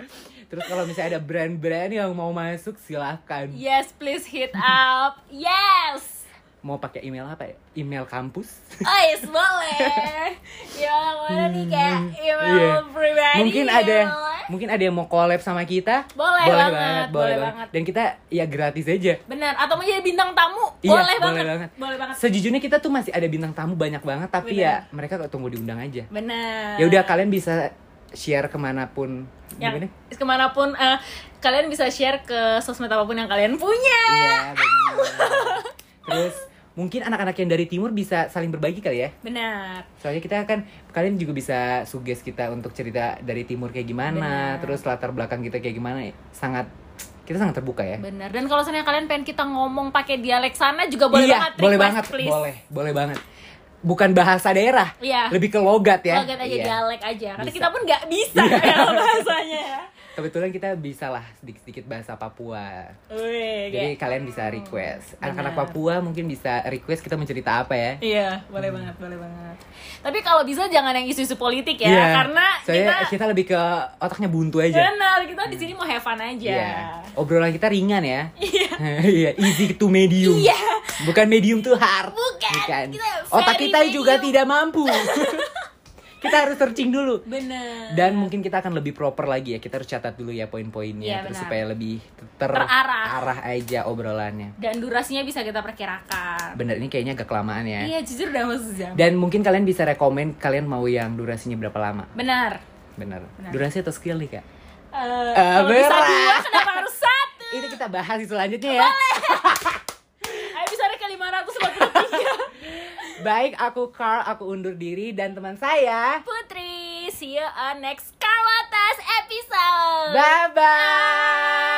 C: Terus kalau misalnya ada brand-brand yang mau masuk, silahkan.
A: yes, please hit up. Yes.
C: Mau pakai email apa ya? Email kampus?
A: Oh, yes, boleh. Ya, mana nih kayak email
C: Hmm, Iya.
A: pribadi.
C: mungkin
A: ya
C: ada
A: boleh.
C: mungkin ada yang mau collab sama kita
A: Boleh banget, boleh banget.
C: dan kita ya gratis aja
A: Benar, atau mau jadi bintang tamu?
C: Iya,
A: boleh,
C: boleh
A: banget.
C: banget.
A: Boleh banget.
C: Sejujurnya kita tuh masih ada bintang tamu banyak banget, tapi ya
A: Bener.
C: mereka gak tunggu diundang aja.
A: Benar.
C: Ya udah kalian bisa share kemanapun.
A: yang
C: Gimana?
A: kemanapun eh, kalian bisa share ke sosmed apapun yang kalian punya.
C: Iya. bener. Terus mungkin anak-anak yang dari timur bisa saling berbagi kali ya.
A: Benar.
C: Soalnya kita kan kalian juga bisa suges kita untuk cerita dari timur kayak gimana,
A: Bener.
C: terus latar belakang kita kayak gimana. ya. Sangat kita sangat terbuka ya.
A: Benar. Dan kalau misalnya kalian pengen kita ngomong pakai dialek sana juga boleh
C: iya,
A: banget
C: boleh
A: request,
C: banget,
A: please.
C: boleh, boleh banget. Bukan bahasa daerah,
A: Iya.
C: lebih ke logat ya.
A: Logat aja
C: Iya.
A: dialek aja karena
C: Bisa. Iya.
A: kita pun nggak bisa ya bahasanya ya
C: kebetulan kita bisa lah sedikit-sedikit bahasa Papua.
A: Wih,
C: Jadi
A: kayak-
C: kalian bisa request. Anak-anak
A: Iya. Benar.
C: Papua mungkin bisa request kita mencerita apa ya?
A: Iya, boleh banget, boleh banget. Tapi kalau bisa jangan yang isu-isu politik ya,
C: Iya,
A: karena
C: soalnya
A: kita
C: kita lebih ke otaknya buntu aja. Hmm. Iya.
A: benar, Iya. kita di sini mau have fun aja.
C: Obrolan kita ringan ya. Iya. easy to medium.
A: Iya.
C: Bukan medium to hard.
A: Bukan, kita
C: Otak
A: very
C: kita juga
A: medium.
C: tidak mampu. kita harus searching dulu.
A: Benar.
C: Dan mungkin kita akan lebih proper lagi ya. Kita harus catat dulu ya poin-poinnya
A: Iya,
C: terus
A: benar.
C: supaya lebih ter-
A: Terarah.
C: arah aja obrolannya.
A: Dan durasinya bisa kita perkirakan.
C: Bener ini kayaknya agak kelamaan ya.
A: Iya, jujur udah masuk jam.
C: Dan mungkin kalian bisa rekomen kalian mau yang durasinya berapa lama?
A: Benar.
C: Bener.
A: Benar.
C: Durasi atau skill nih, Kak?
A: Eh,
C: Eh,
A: kalau bisa
C: berat.
A: dua, kenapa harus satu?
C: Itu kita bahas di selanjutnya ya.
A: Ayo bisa ada ke 543.
C: Baik, aku Carl, aku undur diri dan teman saya.
A: Putri, see you on next Kawatas episode.
C: Bye bye.